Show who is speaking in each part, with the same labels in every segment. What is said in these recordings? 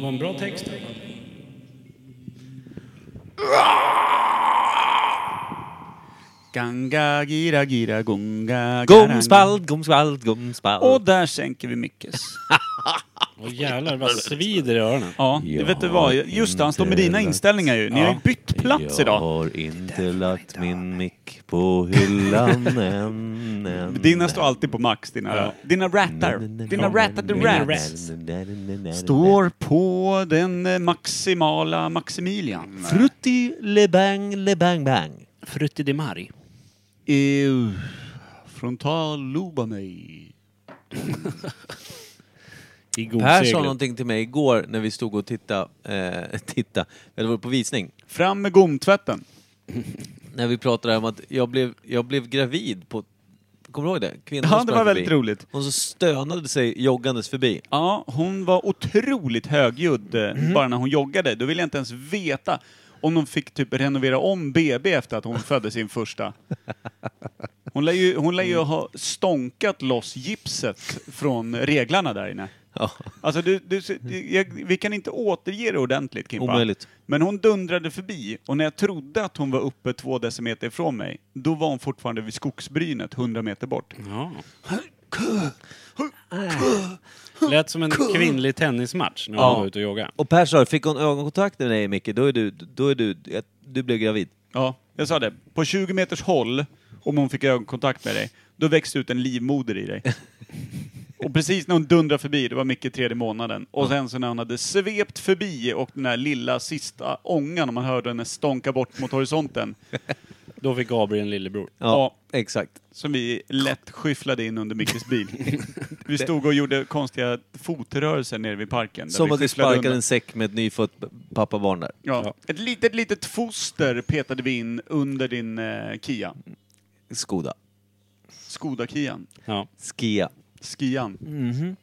Speaker 1: var en bra text. i alla fall.
Speaker 2: Ganga, gira, gira, gunga, garang.
Speaker 3: Gomspalt, gomspalt, gomspalt.
Speaker 2: Och där sänker vi Mickes.
Speaker 1: Åh jävlar vad svider i öronen.
Speaker 2: Ja, det vet du vad. Just det, han står med dina inställningar ju. Ni har ju bytt plats
Speaker 3: jag
Speaker 2: idag.
Speaker 3: har inte lagt min mick på hyllan än. än.
Speaker 2: Dina står alltid på max, dina, dina rattar. Dina rattar the rats. Står på den eh, maximala Maximilian.
Speaker 3: Frutti le bang le bang bang.
Speaker 1: Frutti di Mari.
Speaker 2: Ew. Frontalloba mig.
Speaker 1: I god
Speaker 3: Per sa
Speaker 1: seglet.
Speaker 3: någonting till mig igår när vi stod och tittade, eh, titta, eller var på visning.
Speaker 2: Fram med gomtvätten.
Speaker 3: När vi pratade om att jag blev, jag blev gravid på, kommer du ihåg det? Kvinnan
Speaker 2: Ja, det
Speaker 3: sprang
Speaker 2: var väldigt
Speaker 3: förbi.
Speaker 2: roligt.
Speaker 3: Hon så stönade sig joggandes förbi.
Speaker 2: Ja, hon var otroligt högljudd eh, bara när hon joggade. Då ville jag inte ens veta om de fick typ renovera om BB efter att hon födde sin första. Hon lär ju, hon lär ju ha stånkat loss gipset från reglarna där inne.
Speaker 3: Ja.
Speaker 2: Alltså du, du, jag, vi kan inte återge det ordentligt Kimpa.
Speaker 3: Omöjligt.
Speaker 2: Men hon dundrade förbi och när jag trodde att hon var uppe två decimeter ifrån mig, då var hon fortfarande vid skogsbrynet 100 meter bort.
Speaker 1: Ja.
Speaker 2: Äh.
Speaker 1: Lät som en kvinnlig tennismatch när hon
Speaker 3: Ja.
Speaker 1: var ute och joggade.
Speaker 3: Och Per sa, fick hon ögonkontakt med dig Micke, då är du, då är du, du blev gravid.
Speaker 2: Ja, jag sa det. På 20 meters håll, om hon fick ögonkontakt med dig, då växte ut en livmoder i dig. Och precis när hon dundrade förbi, det var mycket tredje månaden, och sen så när hon hade svept förbi och den där lilla sista ångan, om man hörde henne stånka bort mot horisonten,
Speaker 1: Då fick Gabriel en lillebror.
Speaker 3: Ja, exakt.
Speaker 2: som vi lätt skyfflade in under Mickes bil. Vi stod och gjorde konstiga fotrörelser nere vid parken. där
Speaker 3: Som att vi
Speaker 2: skyfflade
Speaker 3: sparkade
Speaker 2: undan.
Speaker 3: en säck med ett nyfött pappabarn där.
Speaker 2: Ja. Ett litet, litet foster petade vi in under din eh, Kia.
Speaker 3: Skoda.
Speaker 2: Skoda-Kian.
Speaker 1: Ja.
Speaker 3: Skia.
Speaker 2: Skian.
Speaker 3: Mhm.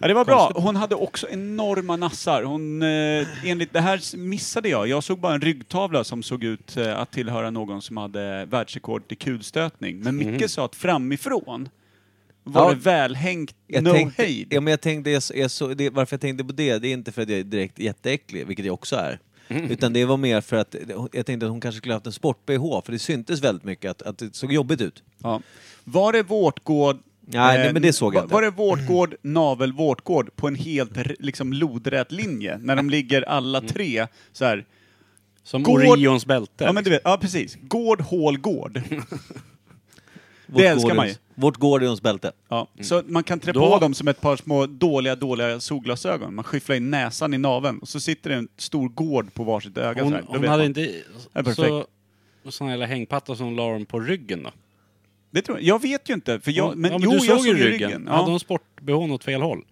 Speaker 2: Ja, det var bra. Hon hade också enorma nassar. Hon, eh, enligt det här missade jag. Jag såg bara en ryggtavla som såg ut eh, att tillhöra någon som hade världsrekord i kulstötning. Men Micke sa att framifrån var
Speaker 3: Mhm. Ja.
Speaker 2: det välhängt
Speaker 3: Jag
Speaker 2: no
Speaker 3: tänkte,
Speaker 2: hejd.
Speaker 3: Ja, men jag tänkte, jag, så- jag, så, det, varför jag tänkte på det, det är inte för att jag är direkt jätteäcklig, vilket jag också är.
Speaker 2: Mm.
Speaker 3: Utan det var mer för att jag tänkte att hon kanske skulle haft en sport-bh, för det syntes väldigt mycket att, att det såg jobbigt ut.
Speaker 2: Ja. Var det vårtgård...
Speaker 3: Nej, nej, men det såg jag
Speaker 2: var,
Speaker 3: inte.
Speaker 2: Var det vårtgård, navel, vårtgård på en helt r- liksom, lodrät linje? När de ligger alla
Speaker 3: Mm.
Speaker 2: tre så här...
Speaker 1: Som
Speaker 2: Gård-
Speaker 1: Orions bälte.
Speaker 2: Ja, men du vet,
Speaker 3: liksom.
Speaker 2: ja precis. Gård, hål, gård. Det älskar man ju.
Speaker 3: Gordions- Vårt Gordions bälte.
Speaker 2: Ja. Så man kan trä
Speaker 1: Då-
Speaker 2: på dem som ett par små dåliga, dåliga solglasögon. Man skyfflar in näsan i naven och så sitter det en stor gård på varsitt öga.
Speaker 1: hon
Speaker 2: så här. Då
Speaker 1: hon
Speaker 2: vet
Speaker 1: hade
Speaker 2: man.
Speaker 1: inte
Speaker 2: Ja,
Speaker 1: så,
Speaker 2: perfekt.
Speaker 1: sån jävla hängpatta som hon la dem på ryggen då.
Speaker 2: det tror jag. jag vet ju inte, för jag,
Speaker 1: Hon-
Speaker 2: men,
Speaker 1: ja,
Speaker 2: jo,
Speaker 1: du
Speaker 2: jag såg ju ryggen.
Speaker 1: ryggen. Hade
Speaker 2: Ja.
Speaker 1: hon sport-bhn åt fel håll?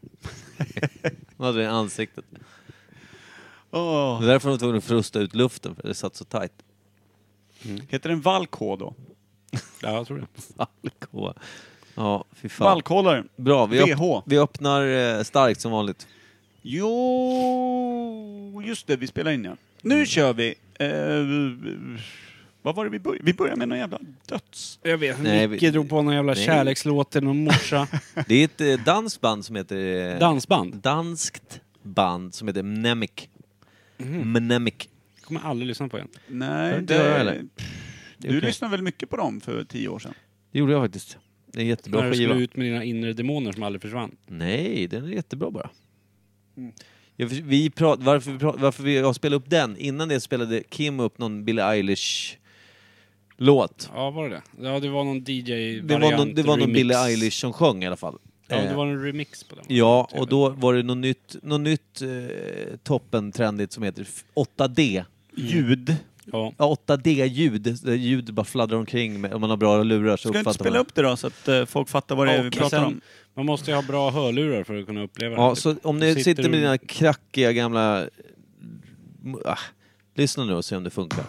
Speaker 3: Hon hade det i ansiktet.
Speaker 2: Åh.
Speaker 3: Det är därför hon var tvungen att frusta ut luften, för det satt så tajt.
Speaker 2: Heter den valkhå då?
Speaker 1: Ja, jag tror det.
Speaker 3: Alkoa. Ja, fy fan.
Speaker 2: Valkhållare.
Speaker 3: Bra, vi, öpp-
Speaker 2: VH.
Speaker 3: vi öppnar eh, starkt som vanligt.
Speaker 2: Jo, just det, vi spelar in ja. Nu kör vi. Eh, vad var det vi började? Vi började med någon jävla döds...
Speaker 1: Jag vet.
Speaker 3: Nej,
Speaker 1: Micke
Speaker 3: vi-
Speaker 1: drog på någon jävla
Speaker 3: Nej.
Speaker 1: kärlekslåt till någon morsa.
Speaker 3: Det är ett eh, dansband som heter... eh,
Speaker 1: Dansband.
Speaker 3: Danskt band som heter Mnemic. Mhm. Mnemic.
Speaker 1: Kommer aldrig lyssna på igen.
Speaker 2: Nej,
Speaker 3: inte jag heller.
Speaker 2: Du
Speaker 3: är okej.
Speaker 2: lyssnade väl mycket på dem för tio år sedan?
Speaker 3: Det gjorde jag faktiskt. Det är en
Speaker 1: När
Speaker 3: jättebra
Speaker 1: du
Speaker 3: skiva.
Speaker 1: skulle ut med dina inre demoner som aldrig försvann.
Speaker 3: Nej, den är jättebra bara. Mm. Jag, förs- vi prat, varför vi, prat, varför vi jag spelade upp den? Innan det spelade Kim upp någon Billie Eilish-låt.
Speaker 1: Ja, var det det? Ja, det var någon DJ-variant.
Speaker 3: Det var någon, det var någon
Speaker 1: remix.
Speaker 3: Billie Eilish som sjöng i alla fall.
Speaker 1: Ja, det
Speaker 3: Eh,
Speaker 1: var en remix på den.
Speaker 3: Ja, och då var det något nytt, något nytt eh, toppentrendigt som heter f- 8D.
Speaker 2: Ljud.
Speaker 1: Ja.
Speaker 3: Ja, 8D-ljud. Där ljud bara fladdrar omkring med, om man har bra lurar så
Speaker 2: Ska du inte
Speaker 3: uppfattar man
Speaker 2: spela
Speaker 3: det.
Speaker 2: upp det då så att eh, folk fattar vad det är vi
Speaker 1: Och
Speaker 2: pratar
Speaker 1: sen-
Speaker 2: om?
Speaker 1: Man måste ju ha bra hörlurar för att kunna uppleva det. här,
Speaker 3: Ja,
Speaker 1: typ.
Speaker 3: så om ni
Speaker 1: Sitter
Speaker 3: sitter,
Speaker 1: du-
Speaker 3: med dina krackiga gamla... m- Ah, lyssna nu och se om det funkar.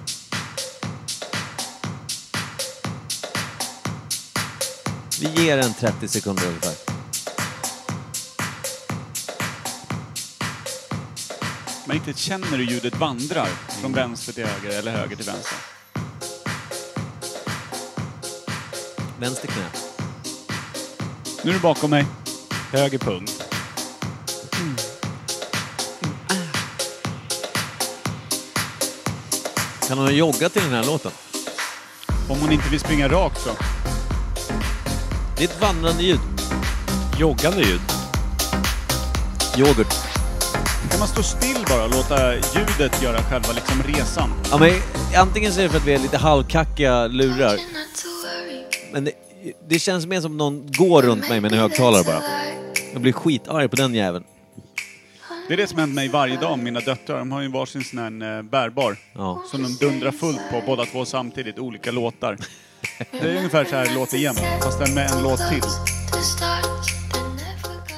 Speaker 3: Vi ger en 30 sekunder ungefär.
Speaker 2: Man inte känner hur ljudet vandrar från vänster till höger eller höger till vänster.
Speaker 3: Vänster knä.
Speaker 2: Nu är du bakom mig.
Speaker 1: Höger pung.
Speaker 3: Kan hon ha joggat till den här låten?
Speaker 2: Om hon inte vill springa rakt så.
Speaker 3: Det är ett vandrande ljud.
Speaker 1: Joggande ljud.
Speaker 3: Yoghurt.
Speaker 2: Kan man stå still bara och låta ljudet göra själva liksom resan?
Speaker 3: Ja, men, antingen så är det för att vi är lite halvkackiga lurar. Men det, det känns mer som någon går runt mig med en högtalare bara. Jag blir skitarg på den jäveln.
Speaker 2: Det är det som händer mig varje dag med mina döttrar. De har ju varsin sån här eh, bärbar.
Speaker 3: Ja.
Speaker 2: Som de dundrar fullt på båda två samtidigt, olika låtar. Det är ungefär så här det låter jämt, fast den med en låt till.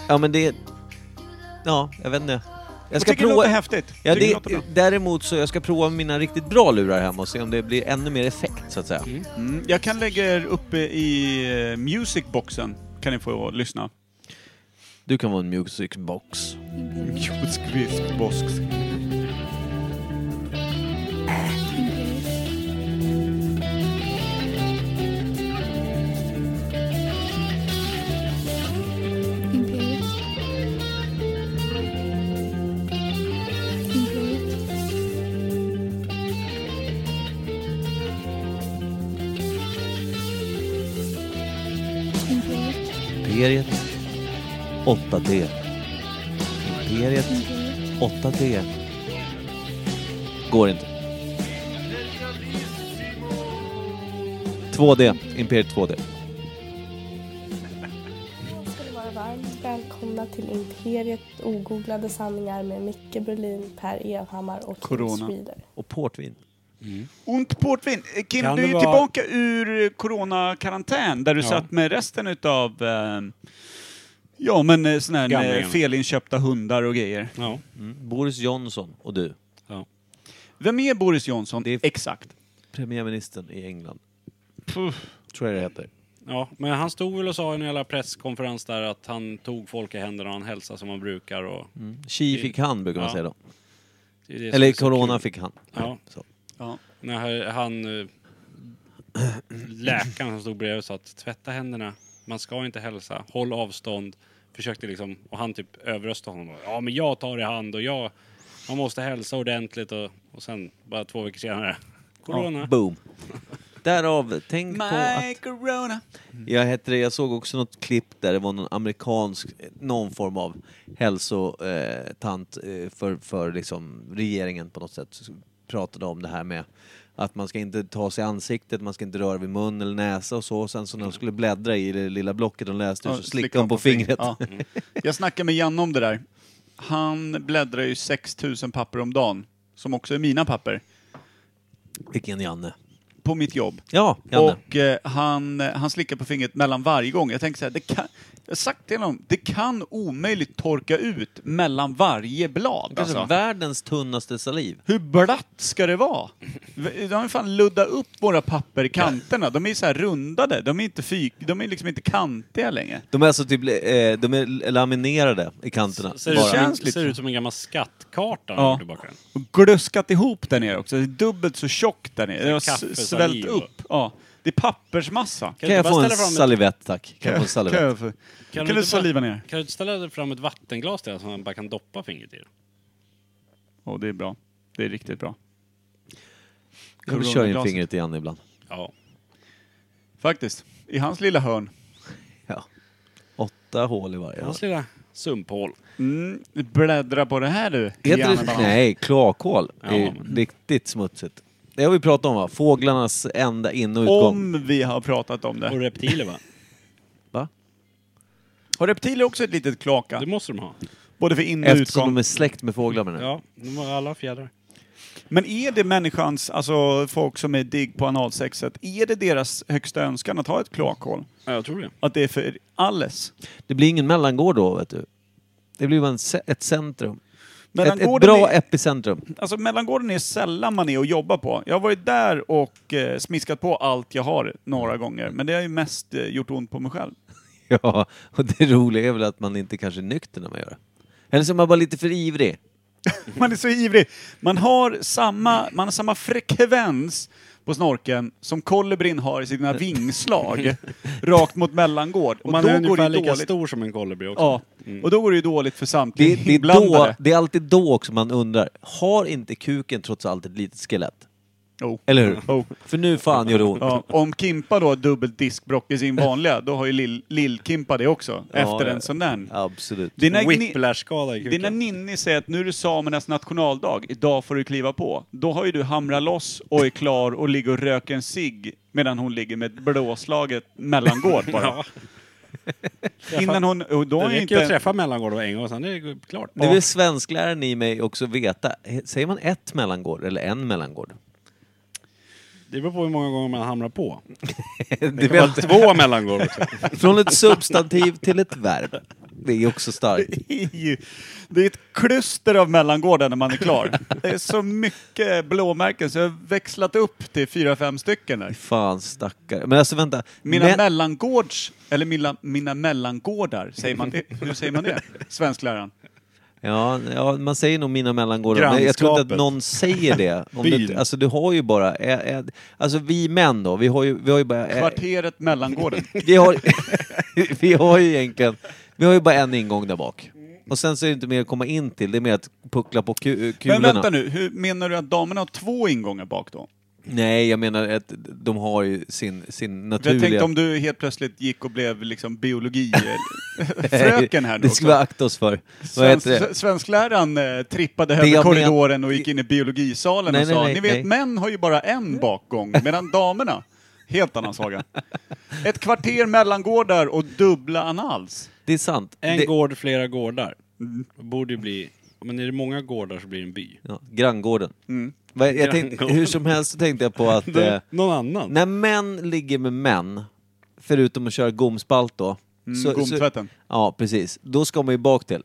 Speaker 3: ja, men det... Ja, jag vet inte. Jag
Speaker 2: Jag tycker det låter häftigt.
Speaker 3: Ja,
Speaker 2: Tycker
Speaker 3: det,
Speaker 2: låter bra.
Speaker 3: däremot så jag ska prova mina riktigt bra lurar hemma och se om det blir ännu mer effekt så att säga.
Speaker 2: Mm, jag kan lägga er uppe i eh, musicboxen, kan ni få lyssna.
Speaker 3: Du kan vara en music box.
Speaker 2: Musicbox.
Speaker 4: Imperiet. Imperiet. Imperiet.
Speaker 3: Imperiet 8D. Imperiet
Speaker 4: Imperiet.
Speaker 3: 8D. Går inte. 2D. Imperiet 2D.
Speaker 5: ska ni vara varmt välkomna till Imperiet ogooglade sanningar med Micke Berlin, Per Evhammar och
Speaker 2: Corona.
Speaker 5: Corona. Sweden.
Speaker 3: Och portvin.
Speaker 2: Ont portvin. Eh, Kim,
Speaker 1: Kan
Speaker 2: du är
Speaker 1: det
Speaker 2: ju
Speaker 1: vara-
Speaker 2: tillbaka ur eh, coronakarantän där du
Speaker 1: Ja.
Speaker 2: satt med resten utav eh, Ja men eh, sån här eh,
Speaker 1: Gamlingen.
Speaker 2: felinköpta hundar och grejer.
Speaker 1: Ja.
Speaker 3: Mm. Boris Johnson och du.
Speaker 1: ja.
Speaker 2: Vem är Boris Johnson?
Speaker 3: Det är-
Speaker 2: Exakt.
Speaker 3: Premiärministern i England. Tror jag det heter.
Speaker 1: Ja, men han stod väl och sa i en jävla presskonferens där att han tog folk i händerna och han hälsade som man brukar och...
Speaker 3: Chi fick han brukar man
Speaker 1: Ja.
Speaker 3: säga då.
Speaker 1: Det är det som är
Speaker 3: Mm. Eller
Speaker 1: så
Speaker 3: corona
Speaker 1: kul.
Speaker 3: fick han.
Speaker 1: Ja.
Speaker 3: Så.
Speaker 2: Ja.
Speaker 1: När han... eh, Läkaren som stod bredvid sa att tvätta händerna, man ska inte hälsa, håll avstånd. Försökte liksom, och han typ överröstade honom. Ja men jag tar i hand och jag... Man måste hälsa ordentligt och, och sen bara två veckor senare. Corona.
Speaker 3: Boom. Därav, tänk på
Speaker 2: My
Speaker 3: att...
Speaker 2: corona.
Speaker 3: Jag, heter det, jag såg också något klipp där det var någon amerikansk, någon form av hälsotant eh, tant, eh, för, för liksom regeringen på något sätt. Så Pratade om det här med att man ska inte ta sig i ansiktet, man ska inte röra vid mun eller näsa och så. Och sen så när de skulle bläddra i det lilla blocket de läste ur
Speaker 2: Ja,
Speaker 3: så slickade de på fingret.
Speaker 2: Ja. Jag snackade med Janne om det där. Han bläddrar ju 6000 papper om dagen, som också är mina papper,
Speaker 3: Vilken Janne.
Speaker 2: på mitt jobb.
Speaker 3: Ja, Janne.
Speaker 2: Och eh, han, han slickar på fingret mellan varje gång. Jag tänker så här, det kan, jag har sagt till honom, det kan omöjligt torka ut mellan varje blad.
Speaker 3: Kanske
Speaker 2: Alltså.
Speaker 3: världens tunnaste saliv.
Speaker 2: Hur blatt ska det vara? V- De har ju fan luddat upp våra papper i kanterna. De är ju så här rundade. De är inte fyk, de är liksom inte kantiga längre.
Speaker 3: De är alltså typ, eh, de är laminerade i kanterna.
Speaker 1: Ser,
Speaker 3: bara.
Speaker 1: ut som, en-
Speaker 2: Känns lite
Speaker 1: ser ut som en gammal skattkarta.
Speaker 2: Ja.
Speaker 1: Ja. Tillbaka. den.
Speaker 2: Och glöskat ihop där nere också. Det är dubbelt så tjockt där nere. Det har s-
Speaker 1: Kaffesaliv
Speaker 2: svällt
Speaker 1: och-
Speaker 2: upp. Ja. Det är pappersmassa.
Speaker 1: Kan,
Speaker 3: Kan
Speaker 1: du
Speaker 3: jag
Speaker 1: inte
Speaker 3: få
Speaker 1: bara
Speaker 3: en
Speaker 1: ställa fram ett-
Speaker 3: salivett tack? Kan jag få en salivett?
Speaker 2: Kan, kan, kan du
Speaker 1: inte
Speaker 2: saliva ner?
Speaker 1: Kan du inte ställa fram ett vattenglas till den så man bara kan doppa fingret i det?
Speaker 2: Åh, det är bra. Det är riktigt bra.
Speaker 3: Kan du köra in fingret i Janne ibland?
Speaker 1: Ja.
Speaker 2: Faktiskt. I hans lilla hörn.
Speaker 3: Ja. Åtta hål i varje.
Speaker 1: Hans lilla sumphål.
Speaker 2: Mm. Bläddra på det här du.
Speaker 3: Heter
Speaker 2: Janne
Speaker 3: det,
Speaker 2: Banan.
Speaker 3: nej, kloakhål. Det är
Speaker 1: Ja.
Speaker 3: riktigt smutsigt. Det har vi pratat om va? Fåglarnas enda in och utgång.
Speaker 2: Om vi har pratat om
Speaker 1: Och
Speaker 2: det.
Speaker 1: reptiler va?
Speaker 3: Va?
Speaker 2: Har reptiler också ett litet klaka?
Speaker 1: Det måste de ha.
Speaker 2: Både för in och
Speaker 3: Eftersom
Speaker 2: utgång.
Speaker 3: de är släkt med fåglar menar jag.
Speaker 1: Ja, de har alla fjädrar.
Speaker 2: Men är det människans, alltså folk som är digg på analsexet, är det deras högsta önskan att ha ett kloakhål?
Speaker 1: Ja, jag tror det.
Speaker 2: Att det är för alles?
Speaker 3: Det blir ingen mellangård då vet du. Det blir bara en ce- ett centrum. Ett, ett
Speaker 2: Mellangården
Speaker 3: bra
Speaker 2: är,
Speaker 3: epicentrum.
Speaker 2: alltså mellangården är sällan man är och jobbar på. Jag har varit där och eh, smiskat på allt jag har några gånger, men det har ju mest eh, gjort ont på mig själv.
Speaker 3: Ja, och det roliga är väl att man inte kanske är nykter när man gör det. Eller så är man bara lite för ivrig.
Speaker 2: Man är så ivrig. Man har samma, man har samma frekvens på snorken som kolibrin har i sina vingslag rakt mot mellangård. Och
Speaker 1: Man
Speaker 2: då
Speaker 1: är
Speaker 2: går det
Speaker 1: ungefär
Speaker 2: ju
Speaker 1: lika
Speaker 2: dåligt.
Speaker 1: stor som en kolibri också.
Speaker 2: Ja, och då går det ju dåligt för
Speaker 3: Det,
Speaker 2: samtliga
Speaker 3: det, är då,
Speaker 2: inblandade.
Speaker 3: det är alltid då också man undrar, har inte kuken trots allt ett litet skelett?
Speaker 2: Oh.
Speaker 3: Eller hur?
Speaker 2: Oh.
Speaker 3: För nu fan gör det ont.
Speaker 2: Ja, om Kimpa då har dubbelt diskbråck i sin vanliga, då har ju Lill- Lill-Kimpa det också. efter
Speaker 3: ja.
Speaker 2: en sån där.
Speaker 3: Absolut.
Speaker 2: Dina, ni,
Speaker 1: Whiplash-skada i
Speaker 2: dina
Speaker 1: kuken.
Speaker 2: ninni säger att nu är det samernas nationaldag, idag får du kliva på. Då har ju du hamrat loss och är klar och ligger och röker en cigg medan hon ligger med blåslaget mellangård bara.
Speaker 1: Ja,
Speaker 2: Innan hon... Och då
Speaker 1: det
Speaker 2: har
Speaker 1: räcker
Speaker 2: ju
Speaker 1: ju att
Speaker 2: inte...
Speaker 1: träffa mellangård en gång, sen är det klart.
Speaker 3: Nu vill svenskläraren i mig också veta, he- säger man ett mellangård eller en mellangård?
Speaker 1: Det beror på hur många gånger man hamnar på.
Speaker 3: Det
Speaker 1: Det
Speaker 3: vet
Speaker 1: kan vara
Speaker 3: jag.
Speaker 1: två mellangård också.
Speaker 3: Från ett substantiv till ett verb. Det är också starkt.
Speaker 2: Det är ett kluster av mellangårdar när man är klar. Det är så mycket blåmärken så jag har växlat upp till fyra, fem stycken där.
Speaker 3: Fan stackare. Men alltså vänta.
Speaker 2: Mina
Speaker 3: Men-
Speaker 2: mellangårds, eller mina, mina mellangårdar, säger man det? Hur säger man det? Svenskläraren.
Speaker 3: Ja, ja, man säger nog mina mellangårdar, men jag tror inte
Speaker 1: Grannskapet.
Speaker 3: att någon säger det. Om
Speaker 1: Byn.
Speaker 3: du, alltså du har ju bara, ä, ä, alltså vi män då, vi har ju, vi har ju bara... ä-
Speaker 2: Kvarteret mellangården.
Speaker 3: vi, har, vi har ju egentligen, vi har ju bara en ingång där bak. Och sen så är det inte mer att komma in till, det är mer att puckla på ku, eh, kulorna.
Speaker 2: Men vänta nu, hur, menar du att damerna har två ingångar bak då?
Speaker 3: Nej, jag menar att de har ju sin, sin
Speaker 2: För jag
Speaker 3: naturliga...
Speaker 2: tänkte om du helt plötsligt gick och blev liksom biologi... eh, fröken här nu
Speaker 3: Det ska vi
Speaker 2: också.
Speaker 3: akta oss för. Vad
Speaker 2: Svensk,
Speaker 3: heter det?
Speaker 2: svenskläraren eh, trippade
Speaker 3: Det
Speaker 2: över
Speaker 3: jag men-
Speaker 2: korridoren och gick in i biologisalen
Speaker 3: Nej,
Speaker 2: och
Speaker 3: nej,
Speaker 2: sa
Speaker 3: nej,
Speaker 2: Ni vet,
Speaker 3: nej.
Speaker 2: män har ju bara en bakgång, medan damerna... Helt annan saga. Ett kvarter mellangårdar och dubbla anals.
Speaker 3: Det är sant.
Speaker 1: En
Speaker 3: det,
Speaker 1: gård, flera gårdar.
Speaker 2: Mm.
Speaker 1: Det borde ju bli... Men är det många gårdar så blir det en by.
Speaker 3: ja, granngården.
Speaker 2: Mm.
Speaker 3: Vad- Jag tänkte, hur som helst så tänkte jag på att... eh,
Speaker 1: Någon annan?
Speaker 3: När män ligger med män, förutom att köra gomspalt då.
Speaker 2: Mm, gomtvätten.
Speaker 3: ja, precis. Då ska man ju bak till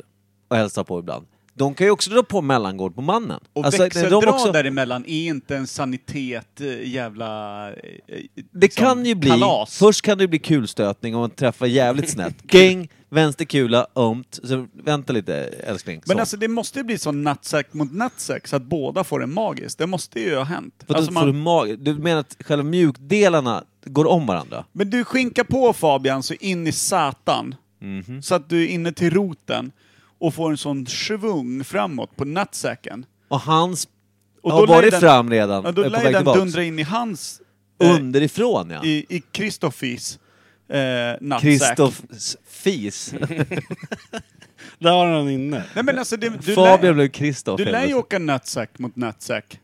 Speaker 3: och hälsa på ibland. De kan ju också dra på mellangård på mannen.
Speaker 2: Och
Speaker 3: Alltså,
Speaker 2: växeldra
Speaker 3: de också-
Speaker 2: däremellan är inte en sanitet eh, jävla... eh, eh,
Speaker 3: Det
Speaker 2: liksom,
Speaker 3: kan ju bli...
Speaker 2: Kalas.
Speaker 3: Först kan det bli kulstötning om man träffar jävligt snett. Gäng, vänsterkula, ömt. Så vänta lite älskling.
Speaker 2: Men
Speaker 3: Så.
Speaker 2: alltså det måste ju bli så nattsäck mot nattsäck så att båda får en magisk. Det måste ju ha hänt.
Speaker 3: För då
Speaker 2: Alltså
Speaker 3: får du,
Speaker 2: man,
Speaker 3: mag- du menar att själva mjukdelarna går om varandra?
Speaker 2: men du skinka på Fabian så in i satan.
Speaker 3: Mhm.
Speaker 2: Så att du är inne till roten och får en sån svung framåt på nattsäcken.
Speaker 3: Och hans...
Speaker 2: Och
Speaker 3: har
Speaker 2: lär ju
Speaker 3: varit
Speaker 2: den-
Speaker 3: fram redan.
Speaker 2: Ja, då
Speaker 3: är på
Speaker 2: lär ju
Speaker 3: väg
Speaker 2: den
Speaker 3: tillbaks.
Speaker 2: dundra in i hans... eh,
Speaker 3: Underifrån ja.
Speaker 2: I Kristoffis eh, nattsäck.
Speaker 3: Kristoffs fis.
Speaker 1: Där har han inne.
Speaker 2: Nej men alltså det, du,
Speaker 3: Fabian
Speaker 2: lär,
Speaker 3: blev alltså. Kristoff.
Speaker 2: du lär ju
Speaker 3: helt
Speaker 2: åka nattsäck mot nattsäck.
Speaker 3: plötsligt.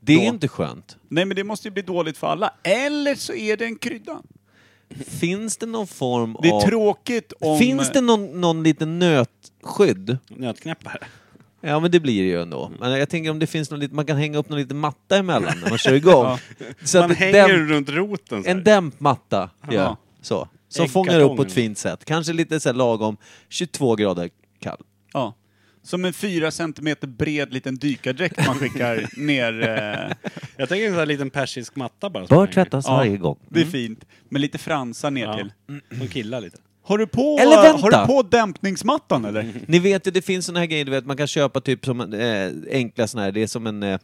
Speaker 3: det är
Speaker 2: då.
Speaker 3: ju inte skönt.
Speaker 2: Nej men det måste ju bli dåligt för alla. Eller så är det en krydda.
Speaker 3: Finns det någon form
Speaker 2: Det är
Speaker 3: av...
Speaker 2: tråkigt om...
Speaker 3: Finns det någon, någon liten nötskydd?
Speaker 1: Nötknäppare.
Speaker 3: Ja men det blir det ju ändå. Men jag tänker om det finns någon liten, man kan hänga upp någon liten matta emellan när man kör igång. Så
Speaker 1: Man
Speaker 3: att det
Speaker 1: hänger
Speaker 3: dämp,
Speaker 1: runt roten så här.
Speaker 3: en dämpmatta gör
Speaker 2: Ja.
Speaker 3: så. Som
Speaker 1: Äggkartong
Speaker 3: fångar upp på ett
Speaker 1: eller-
Speaker 3: fint sätt. Kanske lite så här lagom 22 grader kall.
Speaker 2: Ja. Som en fyra centimeter bred liten dykardräkt man skickar ner. Eh,
Speaker 1: Jag tänker en sån här liten persisk matta bara. som
Speaker 3: Bör
Speaker 1: hänger.
Speaker 3: tvättas
Speaker 2: Ja.
Speaker 3: varje gång.
Speaker 2: det är fint. Med lite fransar ner
Speaker 1: Ja.
Speaker 2: till.
Speaker 1: De killar lite.
Speaker 2: Har du på,
Speaker 3: Eller vänta!
Speaker 2: Har du på dämpningsmattan eller?
Speaker 3: Ni vet ju, det finns såna här grejer, du vet, man kan köpa typ som en, eh, enkla såna här, det är som en, eh, vad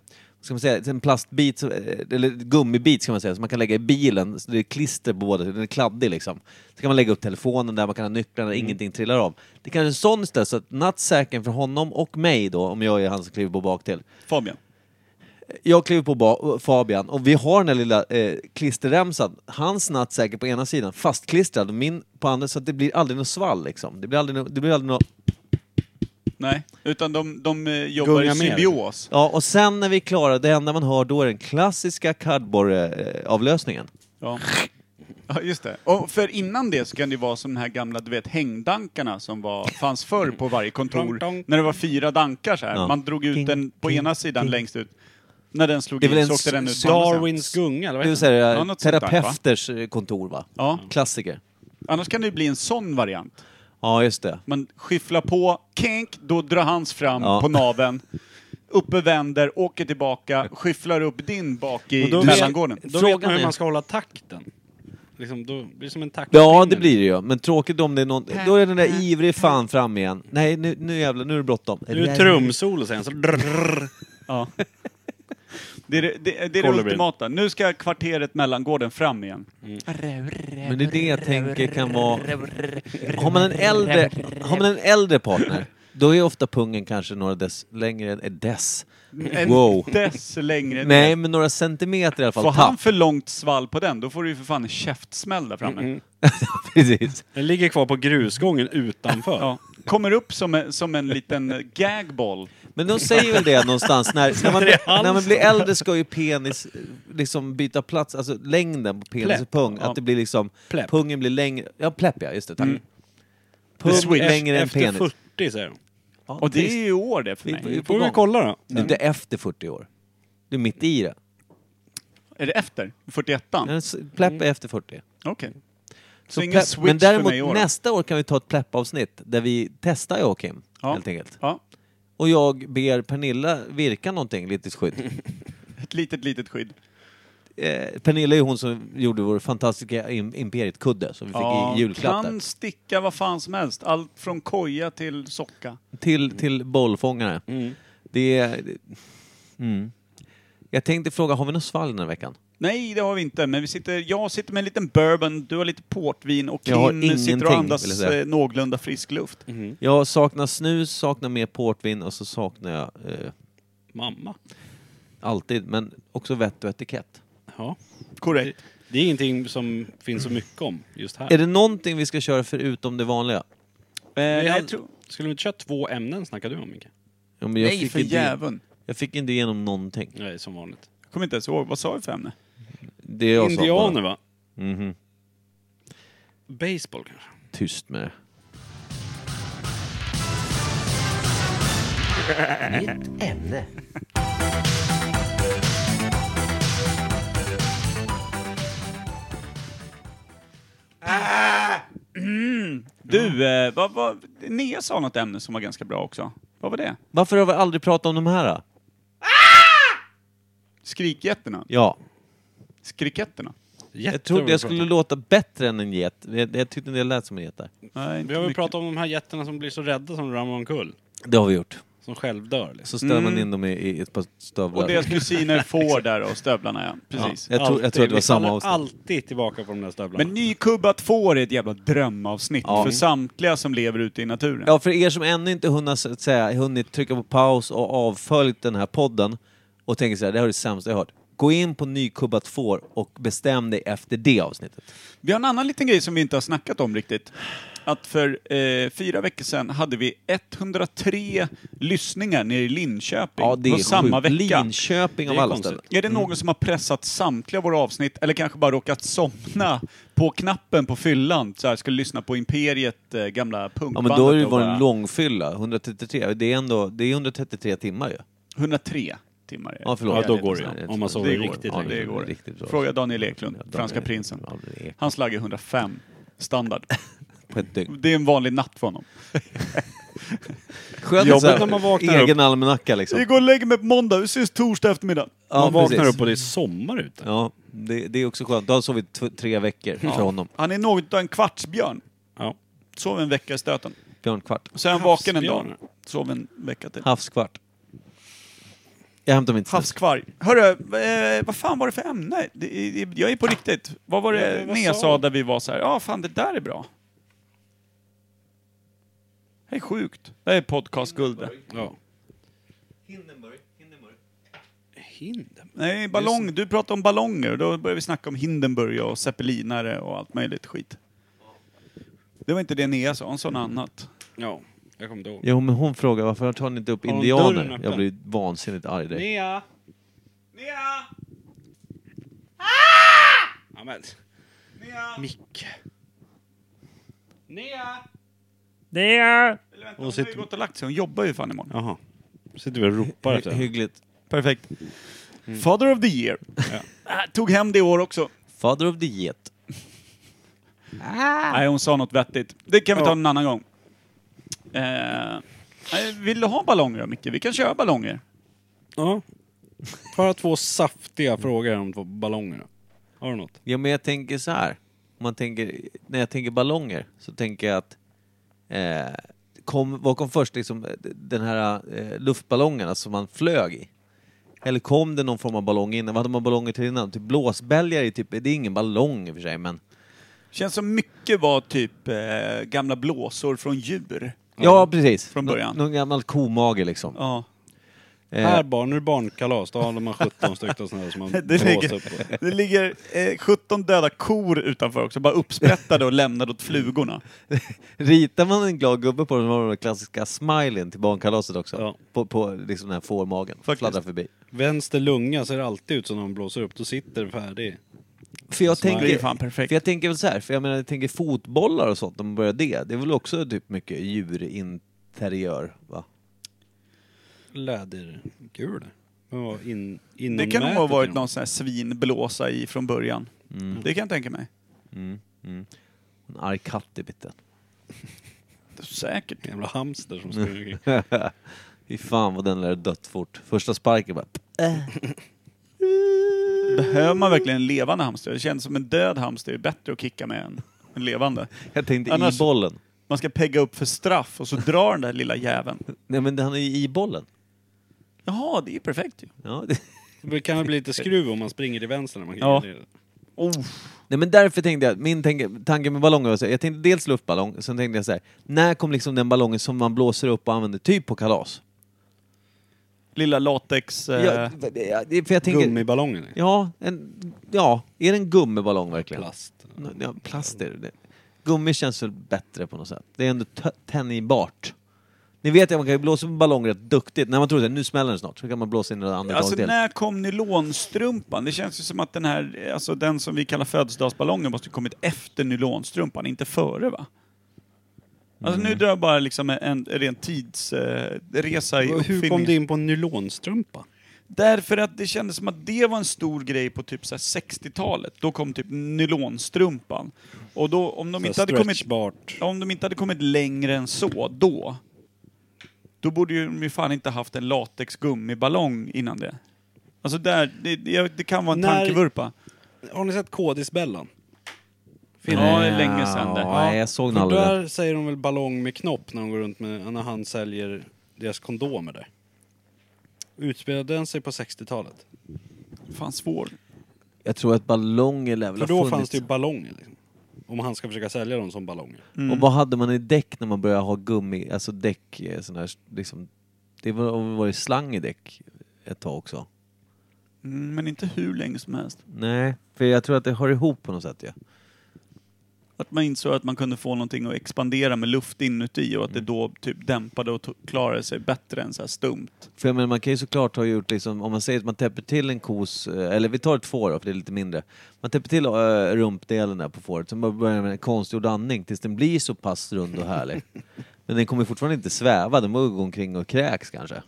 Speaker 3: ska man säga, en plastbit, som- eh, eller gummibit ska man säga, som man kan lägga i bilen, så det är klister på båda, den är kladdig liksom. Så kan man lägga upp telefonen där, man kan ha nycklarna, ingenting trillar av. Det kanske är en sån ställe, så att nattsäcken för honom och mig då, om jag är han som kliver på bak till.
Speaker 2: Fabian.
Speaker 3: Jag kliver på ba- Fabian och vi har den här lilla eh, klisterremsan. Hans nattsäker på ena sidan, fastklistrad, och min på andra, så att det blir aldrig något svall liksom. Det blir aldrig, no- det blir aldrig något
Speaker 2: Nej. Utan de, de eh, jobbar
Speaker 1: Gunga
Speaker 2: i
Speaker 1: med.
Speaker 2: symbios.
Speaker 3: Ja, och sen när vi är klara, det enda man hör då är den klassiska kardborreavlösningen.
Speaker 2: Ja. ja, just det. Och för innan det så kan det ju vara som de här gamla, du vet, hängdankarna som var, fanns förr på varje kontor.
Speaker 1: Tong, tong.
Speaker 2: När det var fyra dankar så här.
Speaker 3: Ja.
Speaker 2: Man drog ut
Speaker 3: Ding,
Speaker 2: den på
Speaker 3: ding,
Speaker 2: ena sidan
Speaker 3: ding.
Speaker 2: längst ut. När den slog
Speaker 3: Det är väl
Speaker 2: in
Speaker 3: en
Speaker 2: så åkte den ut på andra sidan.
Speaker 1: Darwins gunga, eller
Speaker 3: Det
Speaker 1: vad
Speaker 3: vill
Speaker 1: heter det?
Speaker 3: säga
Speaker 2: Ja, något sånt där,
Speaker 3: eh, terapeuters eh, kontor va?
Speaker 2: Ja.
Speaker 3: Klassiker.
Speaker 2: Annars kan det ju bli en sån variant.
Speaker 3: Ja, just det.
Speaker 2: Man skyfflar på, kink, då drar hans fram
Speaker 3: Ja.
Speaker 2: på naven. Uppe vänder, åker tillbaka, skyfflar upp din bak i
Speaker 1: Och då
Speaker 2: mellangården.
Speaker 1: Då vet
Speaker 3: Frågan
Speaker 1: man hur
Speaker 3: är-
Speaker 1: man ska hålla takten. Liksom, då blir det som en takt.
Speaker 3: Ja,
Speaker 2: Mm.
Speaker 3: det blir det ju. Men tråkigt om det är någon... Då är den där ivrig fan fram igen. Nej, nu, nu jävlar, nu är det bråttom.
Speaker 1: Nu är det trumsolo sen, så drrrr.
Speaker 2: Ja. Det är det, det, det, är det
Speaker 1: Kolibrin.
Speaker 2: ultimata. Nu ska kvarteret mellangården fram igen.
Speaker 3: Men det är det jag tänker kan vara... Har man en äldre, har man en äldre partner Då är ofta pungen kanske några dess längre än... eh, Dess?
Speaker 2: En
Speaker 3: Wow.
Speaker 2: dess längre. ner.
Speaker 3: Nej, men några centimeter i alla fall.
Speaker 2: Får han
Speaker 3: Tapp,
Speaker 2: för långt svall på den, då får du ju för fan en käftsmäll där framme.
Speaker 3: precis.
Speaker 1: Den ligger kvar på grusgången utanför.
Speaker 2: Ja. Kommer upp som en, som en liten gagboll.
Speaker 3: Men de säger väl det någonstans, när, när, man, när man blir äldre ska ju penis eh, liksom byta plats, alltså längden på penis
Speaker 1: Pläpp,
Speaker 3: och pung,
Speaker 2: ja. Mm.
Speaker 3: att det blir liksom,
Speaker 1: Pläpp.
Speaker 3: pungen blir längre, ja pläpp ja, just det, tack. Pung
Speaker 1: Switch.
Speaker 3: längre än
Speaker 1: efter
Speaker 3: penis.
Speaker 1: 40 säger de.
Speaker 3: Ja,
Speaker 2: Och det
Speaker 3: visst.
Speaker 2: är ju år det för
Speaker 3: Vi- vi-
Speaker 2: mig.
Speaker 1: Får vi
Speaker 3: gång.
Speaker 1: kolla då?
Speaker 3: Det är inte efter 40 år. Du är mitt i det.
Speaker 2: Är det efter? 41an?
Speaker 3: Men s- Pläpp är efter 40.
Speaker 2: Okej. Så,
Speaker 3: Så
Speaker 2: ingen
Speaker 3: pläpp-
Speaker 2: switch
Speaker 3: men
Speaker 2: för
Speaker 3: däremot
Speaker 2: mig i år.
Speaker 3: nästa år kan vi ta ett pläppavsnitt där vi testar jag och Kim,
Speaker 2: Ja.
Speaker 3: helt enkelt.
Speaker 2: Ja,
Speaker 3: Och jag ber Pernilla virka någonting, lite skydd.
Speaker 2: ett litet, litet skydd.
Speaker 3: eh, Pernilla är ju hon som gjorde vår fantastiska im- Imperiet-kudde som vi fick
Speaker 2: Ja,
Speaker 3: i julklapp
Speaker 2: kan
Speaker 3: där.
Speaker 2: sticka vad fan som helst. Allt från koja till socka.
Speaker 3: Till, till bollfångare.
Speaker 2: Mm.
Speaker 3: Det är... Mm. Jag tänkte fråga, har vi något svalg den här veckan?
Speaker 2: Nej, det har vi inte. Men vi sitter, jag sitter med en liten bourbon, du har lite portvin och
Speaker 3: Jag har
Speaker 2: Kim sitter och
Speaker 3: ingenting, vill jag
Speaker 2: andas
Speaker 3: säga.
Speaker 2: eh, någorlunda frisk luft.
Speaker 3: Jag saknar snus, saknar mer portvin och så saknar jag eh,
Speaker 1: Mamma.
Speaker 3: alltid, men också vett och etikett.
Speaker 1: Ja.
Speaker 2: Korrekt.
Speaker 3: Eh,
Speaker 1: Det är ingenting som finns så mycket om just här.
Speaker 3: Är det någonting vi ska köra förutom det vanliga?
Speaker 2: Eh,
Speaker 1: Vi
Speaker 2: jag
Speaker 1: hade-
Speaker 2: tror-
Speaker 1: Skulle vi inte köra två ämnen snackade du om Micke?
Speaker 3: Ja, men jag,
Speaker 2: Nej,
Speaker 3: fick
Speaker 2: för
Speaker 3: inte, igen-
Speaker 2: jäveln.
Speaker 3: jag fick inte igenom någonting.
Speaker 1: Nej, som vanligt.
Speaker 2: Jag kommer inte ens ihåg, vad sa vi för ämne?
Speaker 3: Det jag sa
Speaker 1: Indianer
Speaker 3: bara,
Speaker 1: va?
Speaker 3: Mhm.
Speaker 1: Baseball kanske?
Speaker 3: tyst med det.
Speaker 2: Du, eh, vad, vad, Nea sa något ämne som var ganska bra också. Vad var det?
Speaker 3: Varför har vi aldrig pratat om de här? Då?
Speaker 2: Skrikgetterna?
Speaker 3: Ja.
Speaker 2: Skriketterna?
Speaker 3: Jag trodde jag skulle låta bättre än en get. Jag, jag tyckte det lät som en get där.
Speaker 2: Nej,
Speaker 1: Vi
Speaker 2: inte
Speaker 1: har väl
Speaker 2: mycket.
Speaker 1: pratat om de här jättarna som blir så rädda som ramlar omkull.
Speaker 3: Det har vi gjort.
Speaker 1: Som självdör. Liksom.
Speaker 3: Så ställer man in dem i, i ett par stövlar.
Speaker 2: Och deras kusiner får där och stövlarna ja, precis.
Speaker 3: Ja, jag, tror, jag tror att det var
Speaker 1: Vi
Speaker 3: samma
Speaker 1: faller
Speaker 3: avsnitt.
Speaker 1: alltid tillbaka på de där stövlarna.
Speaker 2: Men nykubbat får är ett jävla drömavsnitt
Speaker 3: Ja.
Speaker 2: för samtliga som lever ute i naturen.
Speaker 3: Ja, för er som ännu inte hunnit, så att säga, hunnit trycka på paus och avföljt den här podden och tänker så här, det här är det sämsta jag hört. Gå in på Nykubbat får och bestäm dig efter det avsnittet.
Speaker 2: Vi har en annan liten grej som vi inte har snackat om riktigt. Att för eh, fyra veckor sedan hade vi 103 lyssningar nere i Linköping.
Speaker 3: Ja, det är
Speaker 2: på samma
Speaker 3: sjukt.
Speaker 2: vecka.
Speaker 3: Linköping av
Speaker 1: Det är
Speaker 3: alla
Speaker 1: konstigt.
Speaker 3: ställen. Mm.
Speaker 2: Är det någon som har pressat samtliga våra avsnitt eller kanske bara råkat somna på knappen på fyllan? Så här, skulle lyssna på Imperiet, eh, gamla
Speaker 3: Ja,
Speaker 2: punkbandet.
Speaker 3: men då har det ju
Speaker 2: och
Speaker 3: varit
Speaker 2: bara-
Speaker 3: en långfylla. 133, det är ändå det är 133 timmar ju.
Speaker 2: 103 timmar är det.
Speaker 3: Ja, förlåt.
Speaker 1: Ja, då går det ju.
Speaker 3: Jag vet
Speaker 1: Om man
Speaker 3: inte.
Speaker 1: sover
Speaker 2: Det går.
Speaker 1: riktigt
Speaker 3: Ja,
Speaker 1: länge.
Speaker 2: Det går
Speaker 3: Riktigt bra.
Speaker 2: det. Fråga Daniel Eklund,
Speaker 3: Ja, Daniel-
Speaker 2: franska prinsen.
Speaker 3: Ja, det är
Speaker 2: Hans lag är 105 standard.
Speaker 3: På ett dygn.
Speaker 2: Det är en vanlig natt för honom.
Speaker 3: Skönt
Speaker 1: Jobbigt
Speaker 3: så här,
Speaker 1: när man vaknar
Speaker 3: egen almanacka liksom.
Speaker 2: går och lägger mig på måndag, vi ses torsdag eftermiddag.
Speaker 3: Ja,
Speaker 1: Man vaknar
Speaker 3: precis.
Speaker 1: upp och det är sommar ute.
Speaker 3: Ja, det, det är också skönt. Då har han sovit t- tre veckor för honom.
Speaker 2: Han är något av en kvartsbjörn.
Speaker 1: Ja.
Speaker 2: Sov en vecka i stöten.
Speaker 3: Björn Kvart.
Speaker 2: Så är han vaken en dag.
Speaker 1: Havsbjörn.
Speaker 2: Sov en vecka till.
Speaker 3: Havskvart. Jag hämtar mitt snus.
Speaker 2: Havskvarg. Hörru, eh, vad fan var det för ämne? Det, det, jag är på riktigt. Vad var det
Speaker 1: Ja, vad
Speaker 2: Nea
Speaker 1: sa
Speaker 2: sa
Speaker 1: hon?
Speaker 2: där vi var så här, ja fan det där är bra. Det är sjukt. Det här är podcastguld det.
Speaker 1: Ja. Hindenburg.
Speaker 2: Nej, ballong. Du pratade om ballonger och då började vi snacka om Hindenburg och zeppelinare och allt möjligt skit. Det var inte det Nea sa, hon sa något annat.
Speaker 1: Ja, jag kommer inte ihåg.
Speaker 3: Jo, men hon frågar varför tar ni inte upp
Speaker 1: Har hon dörren
Speaker 3: indianer?
Speaker 1: öppen?
Speaker 3: Jag blir vansinnigt arg direkt.
Speaker 1: Nea! Nea! Ja, men. Nea! Micke. Nea! Nea!
Speaker 2: Eller vänta,
Speaker 1: Och
Speaker 2: hon har
Speaker 1: sitter-
Speaker 2: ju gått och lagt sig, hon jobbar ju fan imorgon.
Speaker 1: Jaha. Sitter vi och ropar efter
Speaker 3: Hy-
Speaker 1: henne.
Speaker 3: Hyggligt.
Speaker 2: Perfekt. Mm. Father of the year. Ah, Tog hem det i år också.
Speaker 3: Father of the Get.
Speaker 2: Nej, hon sa något vettigt. Det kan vi ta
Speaker 1: Ja.
Speaker 2: en annan gång. Eh, nej, vill du ha ballonger då, Micke? Vi kan köra ballonger.
Speaker 1: Ja. Bara två saftiga frågor om två ballongerna. Har du något?
Speaker 3: Ja, men jag tänker så här. Om Man tänker, när jag tänker ballonger så tänker jag att eh, kom, vad kom först? Liksom, eh, den här eh, luftballongerna som man flög i. Eller kom det någon form av ballong innan? Vad hade man ballonger till innan? Typ blåsbälgar är typ, det är ingen ballong i och för sig men...
Speaker 2: Känns som mycket var typ eh, gamla blåsor från djur.
Speaker 3: Ja, precis.
Speaker 2: Från början.
Speaker 3: Nå- Någon gammal komage liksom.
Speaker 2: Ja.
Speaker 3: Eh,
Speaker 1: Här barn, nu är det barnkalas. Då har man 17 stycken sådana här som man
Speaker 2: Det
Speaker 1: blåser
Speaker 2: ligger,
Speaker 1: upp på.
Speaker 2: det ligger eh, 17 döda kor utanför också, bara uppsprättade och lämnade åt flugorna.
Speaker 3: Ritar man en glad gubbe på den har man den klassiska smileyn till barnkalaset också.
Speaker 1: Ja.
Speaker 3: På, på liksom den här fårmagen.
Speaker 2: Faktiskt.
Speaker 3: Fladdrar förbi.
Speaker 1: Vänster lunga ser alltid ut som när man blåser upp. Då sitter den färdig.
Speaker 3: För jag,
Speaker 1: Smile.
Speaker 2: Det är ju
Speaker 3: tänker,
Speaker 2: fan perfekt.
Speaker 3: för jag tänker väl så här, för jag menar jag tänker fotbollar och sånt, de börjar det. Det är väl också typ mycket djurinteriör va?
Speaker 1: Lädergul. Men vad in, inom
Speaker 2: Det kan nog ha
Speaker 1: nätet
Speaker 2: varit
Speaker 1: genom-
Speaker 2: någon sån här svinblåsa i från början. Det kan jag tänka mig.
Speaker 3: Mm. Mm. En arg katt i biten.
Speaker 2: Säkert.
Speaker 1: Jävla hamster som springer omkring.
Speaker 3: Fy fan vad den lär ha dött fort. Första sparken bara...
Speaker 2: Behöver man verkligen en levande hamster? Det känns som en död hamster är bättre att kicka med än en levande.
Speaker 3: Jag tänkte
Speaker 2: Annars-
Speaker 3: i bollen.
Speaker 2: Man ska pegga upp för straff och så drar den där lilla jäveln.
Speaker 3: Nej men han är ju i bollen.
Speaker 2: Jaha, det är ju perfekt ju.
Speaker 3: Ja, det...
Speaker 1: Det kan väl bli lite skruv om man springer till vänster när man
Speaker 2: Ja.
Speaker 1: kickar.
Speaker 2: Oh,
Speaker 3: Nej men därför tänkte jag, min tanke, tanke med ballonger var så här, jag tänkte dels luftballong, sen tänkte jag så här, när kom liksom den ballongen som man blåser upp och använder typ på kalas?
Speaker 2: lilla latex... Eh,
Speaker 3: Ja, det- det- för jag tänker,
Speaker 1: Gummiballongen.
Speaker 3: ja, en, ja, är det en gummiballong verkligen?
Speaker 1: Plast.
Speaker 3: Ja, plast är det. det. Gummi känns väl bättre på något sätt. Det är ändå t- tänjbart. Ni vet att man kan ju blåsa på ballong rätt duktigt. När man tror att nu smäller den snart, så kan man blåsa in den andra
Speaker 2: Alltså
Speaker 3: gången till.
Speaker 2: när kom nylonstrumpan? Det känns ju som att den här, alltså den som vi kallar födelsedagsballongen måste ju kommit efter nylonstrumpan, inte före va? Alltså nu drar jag bara liksom en, en ren tidsresa i
Speaker 1: Hur kom
Speaker 2: uppfinningen.
Speaker 1: du in på en nylonstrumpa?
Speaker 2: Därför att det kändes som att det var en stor grej på typ så här 60-talet. Då kom typ nylonstrumpan. Och då, om de, inte hade kommit,
Speaker 1: Stretchbart.
Speaker 2: om de inte hade kommit längre än så, då. Då borde ju de ju fan inte haft en latexgummiballong innan det. Alltså där, det, det, det kan vara en
Speaker 1: När-
Speaker 2: tankevurpa.
Speaker 1: Har ni sett Kodisbällan?
Speaker 2: Ja, det är länge sedan det.
Speaker 3: Ja,
Speaker 2: Ja.
Speaker 3: nej, jag såg den
Speaker 1: För
Speaker 3: aldrig.
Speaker 1: där säger de väl ballong med knopp när de går runt med, när han säljer deras kondomer där. Utspelade den sig på 60-talet?
Speaker 2: Fan svår.
Speaker 3: Jag tror att ballonger lär väl
Speaker 1: För
Speaker 3: ha
Speaker 1: då
Speaker 3: funnits.
Speaker 1: fanns det ju ballonger liksom. Om han ska försöka sälja dem som ballonger.
Speaker 2: mm.
Speaker 3: Och vad hade man i däck när man började ha gummi, alltså däck, eh, sån här, liksom, det var, var ju slang i däck ett tag också.
Speaker 2: Mm, Men inte hur länge som helst.
Speaker 3: Nej, för jag tror att det hör ihop på något sätt ja.
Speaker 2: Att man insåg att man kunde få någonting att expandera med luft inuti och att det då typ dämpade och to- klarade sig bättre än så här stumt.
Speaker 3: För jag menar, man kan ju såklart ha gjort liksom, om man säger att man täpper till en kos, eh, eller vi tar ett får då, för det är lite mindre. Man täpper till äh, rumpdelen där på fåret, sen bara börjar med en konstgjord andning tills den blir så pass rund och härlig. Men den kommer fortfarande inte sväva, den måste gå omkring och kräks kanske.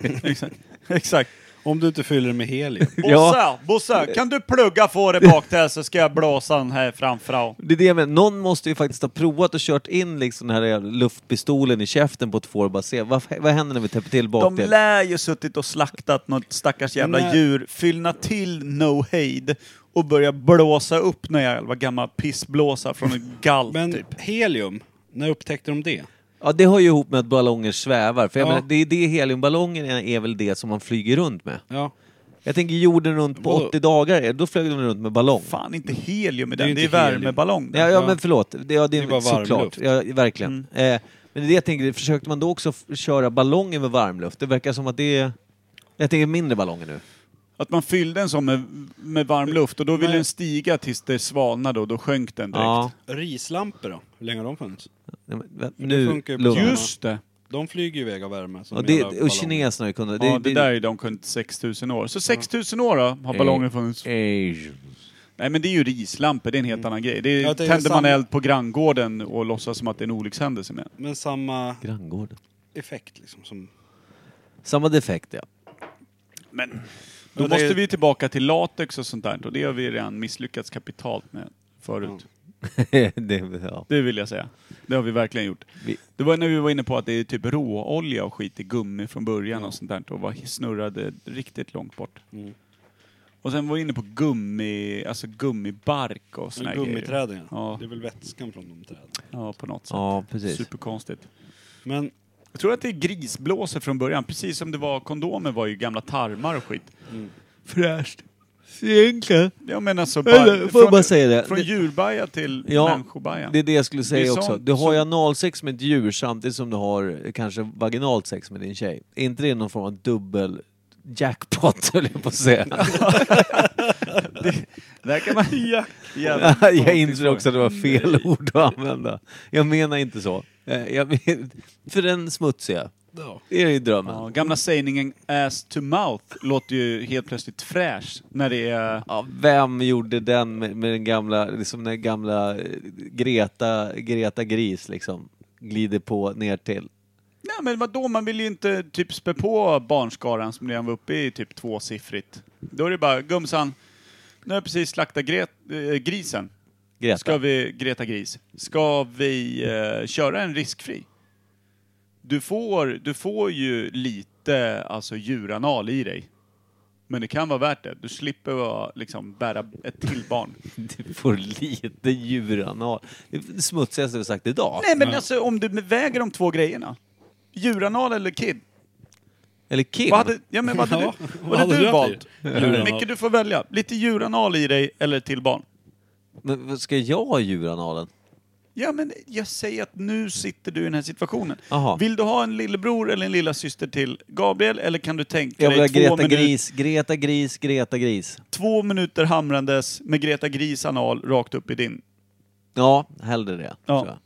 Speaker 2: Exakt. Exakt.
Speaker 1: Om du inte fyller det med helium.
Speaker 2: Bossa, Bossa, kan du plugga fåret bak där så ska jag blåsa den här framför.
Speaker 3: Det är det med. Någon måste ju faktiskt ha provat och kört in liksom den här jävla luftpistolen i käften på ett får och bara se vad, vad händer när vi täpper till
Speaker 2: De
Speaker 3: bakdelen.
Speaker 2: lär ju suttit och slaktat något stackars jävla
Speaker 1: Nej.
Speaker 2: djur, fyllna till No Hejd och börja blåsa upp någon jävla gammal pissblåsa från en gall
Speaker 1: Men
Speaker 2: typ.
Speaker 1: helium, när upptäckte de det?
Speaker 3: Ja, det hör ju ihop med att ballonger svävar. För jag
Speaker 1: Ja.
Speaker 3: menar, det är det heliumballongerna är väl det som man flyger runt med.
Speaker 1: Ja,
Speaker 3: Jag tänker jorden runt på
Speaker 1: Vadå?
Speaker 3: 80 dagar, är- då flög de runt med ballong.
Speaker 2: Fan, inte helium i
Speaker 1: Det är
Speaker 2: den, det är
Speaker 1: inte helium.
Speaker 2: värmeballong.
Speaker 3: Ja, ja,
Speaker 1: Ja.
Speaker 3: men förlåt. Det, ja, det,
Speaker 1: Det är
Speaker 3: är
Speaker 1: bara
Speaker 3: såklart.
Speaker 1: varmluft.
Speaker 3: Ja, verkligen. Eh, men det är det jag tänker, försökte man då också f- köra ballonger med varmluft? Det verkar som att det är... Jag tänker mindre ballonger nu.
Speaker 2: Att man fyllde en sån med, med varm luft och då ville
Speaker 1: Nej.
Speaker 2: den stiga tills det svalnade och då sjönk den direkt.
Speaker 3: Ja.
Speaker 1: rislampor då? Hur länge har de funnits?
Speaker 3: Nej, men, vä-
Speaker 1: det
Speaker 3: Nu,
Speaker 1: funkar ju på
Speaker 3: lugn.
Speaker 1: samma-
Speaker 2: Just det.
Speaker 1: De flyger ju iväg av värme. Som
Speaker 3: Och, det,
Speaker 1: jävla
Speaker 3: och
Speaker 1: ballonger.
Speaker 3: kineserna har ju kunnat...
Speaker 2: Ja, det där är ju de kunde 6000 år. Så 6000 år då
Speaker 1: Eh.
Speaker 2: har ballongen funnits.
Speaker 3: Age.
Speaker 2: Nej men det är ju rislampor, det är en
Speaker 1: Mm.
Speaker 2: helt annan grej. Det är,
Speaker 1: Jag tänker
Speaker 2: tänder man
Speaker 1: sam-
Speaker 2: eld på granngården och låtsas som att det är en olyckshändelse med.
Speaker 1: Men samma
Speaker 3: Granngården.
Speaker 1: effekt liksom. Som...
Speaker 3: Samma defekt ja.
Speaker 2: Men då
Speaker 1: Ja, det är-
Speaker 2: måste vi tillbaka till latex och sånt där och det har vi redan misslyckats kapitalt med förut.
Speaker 3: det, ja.
Speaker 2: Det vill jag säga. Det har vi verkligen gjort.
Speaker 3: Vi-
Speaker 2: Det var när vi var inne på att det är typ råolja och skit i gummi från början och sånt där och var snurrade riktigt långt bort.
Speaker 1: Mm.
Speaker 2: Och sen var vi inne på gummi, alltså gummibark och såna här grejer.
Speaker 1: Gummiträden
Speaker 2: Ja.
Speaker 1: ja. Det är väl vätskan från de träden.
Speaker 2: Ja, på något sätt.
Speaker 3: ja, precis.
Speaker 2: Superkonstigt.
Speaker 1: Men
Speaker 2: Jag tror att det är grisblåsor från början, precis som det var kondomer var ju gamla tarmar och skit. Fräscht.
Speaker 3: Egentligen.
Speaker 2: Ja men alltså,
Speaker 3: Eller,
Speaker 2: bara-
Speaker 3: får jag bara säga det?
Speaker 2: från
Speaker 3: Det-
Speaker 2: djurbaja till
Speaker 3: Ja,
Speaker 2: människobaja.
Speaker 3: Det är det jag skulle
Speaker 2: Det
Speaker 3: säga
Speaker 2: är
Speaker 3: också.
Speaker 2: sånt
Speaker 3: Du har ju
Speaker 2: som-
Speaker 3: analsex med ett djur samtidigt som du har eh, kanske vaginalt sex med din tjej. Är inte det någon form av dubbel jackpot höll jag på att säga.
Speaker 2: Där kan man... ja,
Speaker 3: jag inser också att det var fel ord att använda. Jag menar inte så. Eh, Jag, men- för den smutsiga. Det är ju drömmen.
Speaker 2: Ja, gamla sägningen ass to mouth låter ju helt plötsligt fräsch när det är...
Speaker 3: Ja, vem gjorde den med, med den gamla, liksom den gamla eh, Greta, Greta Gris liksom? Glider på ner till.
Speaker 2: Nej men vadå, man vill ju inte typ spä på barnskaran som redan var uppe i typ tvåsiffrigt. Då är det bara, gumsan, nu har jag precis slaktat gre- eh, grisen.
Speaker 3: Greta.
Speaker 2: Ska vi, Greta Gris, ska vi eh, köra en riskfri? Du får, du får ju lite alltså, djuranal i dig. Men det kan vara värt det. Du slipper vara, liksom, bära ett till barn.
Speaker 3: Du får lite djuranal. Det är det smutsigaste vi har sagt idag.
Speaker 2: Nej men alltså om du väger de två grejerna. Djuranal eller kid?
Speaker 3: Eller Kim.
Speaker 2: Vad hade, ja, men vad hade
Speaker 1: Ja,
Speaker 2: du, vad hade du
Speaker 1: haft
Speaker 2: valt?
Speaker 1: i djuranal?
Speaker 2: Micke du får välja. Lite djuranal i dig eller ett till barn.
Speaker 3: Men vad ska jag ha i djuranalen?
Speaker 2: Ja men jag säger att nu sitter du i den här situationen.
Speaker 3: Aha.
Speaker 2: Vill du ha en lillebror eller en lilla syster till Gabriel eller kan du tänka
Speaker 3: Jag vill ha
Speaker 2: dig två,
Speaker 3: Greta
Speaker 2: minut,
Speaker 3: Gris, Greta Gris, Greta Gris.
Speaker 2: två minuter hamrandes med Greta Gris anal rakt upp i din?
Speaker 3: Ja, hellre det.
Speaker 2: Ja.
Speaker 3: tror jag.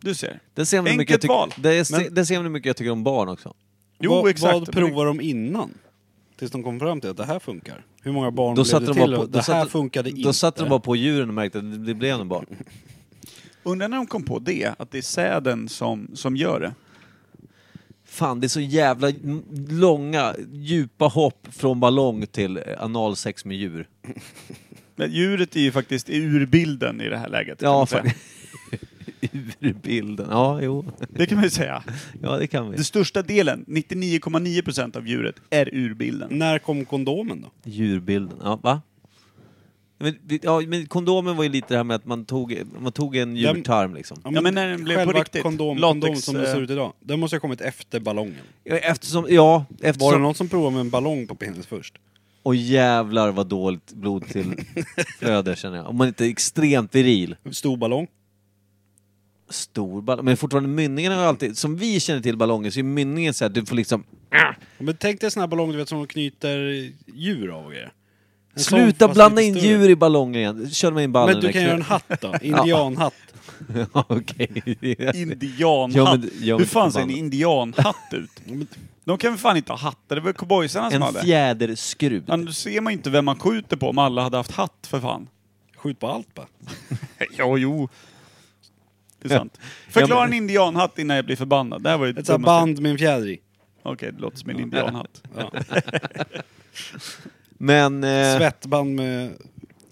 Speaker 2: Du ser.
Speaker 3: Där ser man hur
Speaker 2: Enkelt
Speaker 3: mycket jag
Speaker 2: val.
Speaker 3: tycker- där se-
Speaker 1: Men-
Speaker 3: där ser man hur mycket jag tycker om barn också.
Speaker 2: Jo,
Speaker 1: vad,
Speaker 2: exakt.
Speaker 1: Vad provar de innan? Tills de kom fram till att det här funkar. Hur många barn
Speaker 3: Då
Speaker 1: blev
Speaker 3: satte
Speaker 1: det
Speaker 3: de
Speaker 1: till?
Speaker 3: bara på,
Speaker 1: och
Speaker 3: då
Speaker 1: det här
Speaker 3: satte,
Speaker 1: funkade inte.
Speaker 3: då satte de bara på djuren och märkte att det, det blev en barn.
Speaker 2: Undrar när de kom på det, att det är säden som, som gör det.
Speaker 3: Fan, det är så jävla m- långa, djupa hopp från ballong till eh, analsex med djur.
Speaker 2: Men djuret är ju faktiskt ur bilden i det här läget. Kan
Speaker 3: Ja,
Speaker 2: man säga.
Speaker 3: fan. Ur bilden. Ja, jo.
Speaker 2: Det kan man ju säga.
Speaker 3: Ja, det kan vi.
Speaker 2: Den största delen, 99,9% av djuret, är ur bilden.
Speaker 1: När kom kondomen då?
Speaker 3: Djurbilden, ja va? Men, vi- ja, men kondomen var ju lite det här med att man tog, man tog en
Speaker 1: Ja, men-
Speaker 3: djurtarm liksom.
Speaker 2: Ja, men när den blev på
Speaker 1: själva
Speaker 2: riktigt.
Speaker 1: Kondom,
Speaker 2: Latex,
Speaker 1: kondom som det ser
Speaker 2: eh,
Speaker 1: ut idag. Den måste ha kommit efter ballongen.
Speaker 3: Ja, Eftersom, ja,
Speaker 1: Var det
Speaker 3: eftersom...
Speaker 1: någon som provade med en ballong på penis först?
Speaker 3: Och jävlar vad dåligt blod till flöde känner jag. Om man inte är extremt viril.
Speaker 1: En Stor ballong?
Speaker 3: Stor ballong. Men fortfarande mynningarna har ju alltid, som vi känner till ballonger, så är mynningen så att du får liksom... ah,
Speaker 1: Men tänk dig en sån här ballong du vet, som de knyter djur av och grejer. En sån,
Speaker 3: Sluta
Speaker 1: fast
Speaker 3: blanda
Speaker 1: lite
Speaker 3: in
Speaker 1: större.
Speaker 3: djur i ballongen igen. Kör med in ballen.
Speaker 1: Men du kan göra en hatt då. Indianhatt.
Speaker 3: ja, okej.
Speaker 2: Indianhatt.
Speaker 3: Ja, men- ja,
Speaker 2: Hur
Speaker 3: men
Speaker 2: fan
Speaker 3: för
Speaker 2: ser en
Speaker 3: fan.
Speaker 2: indianhatt ut? De kan väl fan inte ha hattar? Det var ju cowboysarna som
Speaker 3: En
Speaker 2: hade. Ja,
Speaker 3: fjäderskrud.
Speaker 2: men då ser man ju inte vem man skjuter på om alla hade haft hatt för fan.
Speaker 1: Skjut på allt bara.
Speaker 2: Ja, jo. Det är sant. Förklara en indianhatt innan jag blir förbannad. Det här var ju det
Speaker 1: Ett sånt här
Speaker 2: dummaste.
Speaker 1: band med en fjäder i.
Speaker 2: Okej, det låter som en indianhatt.
Speaker 1: Ja.
Speaker 3: Men... eh,
Speaker 1: Svettband med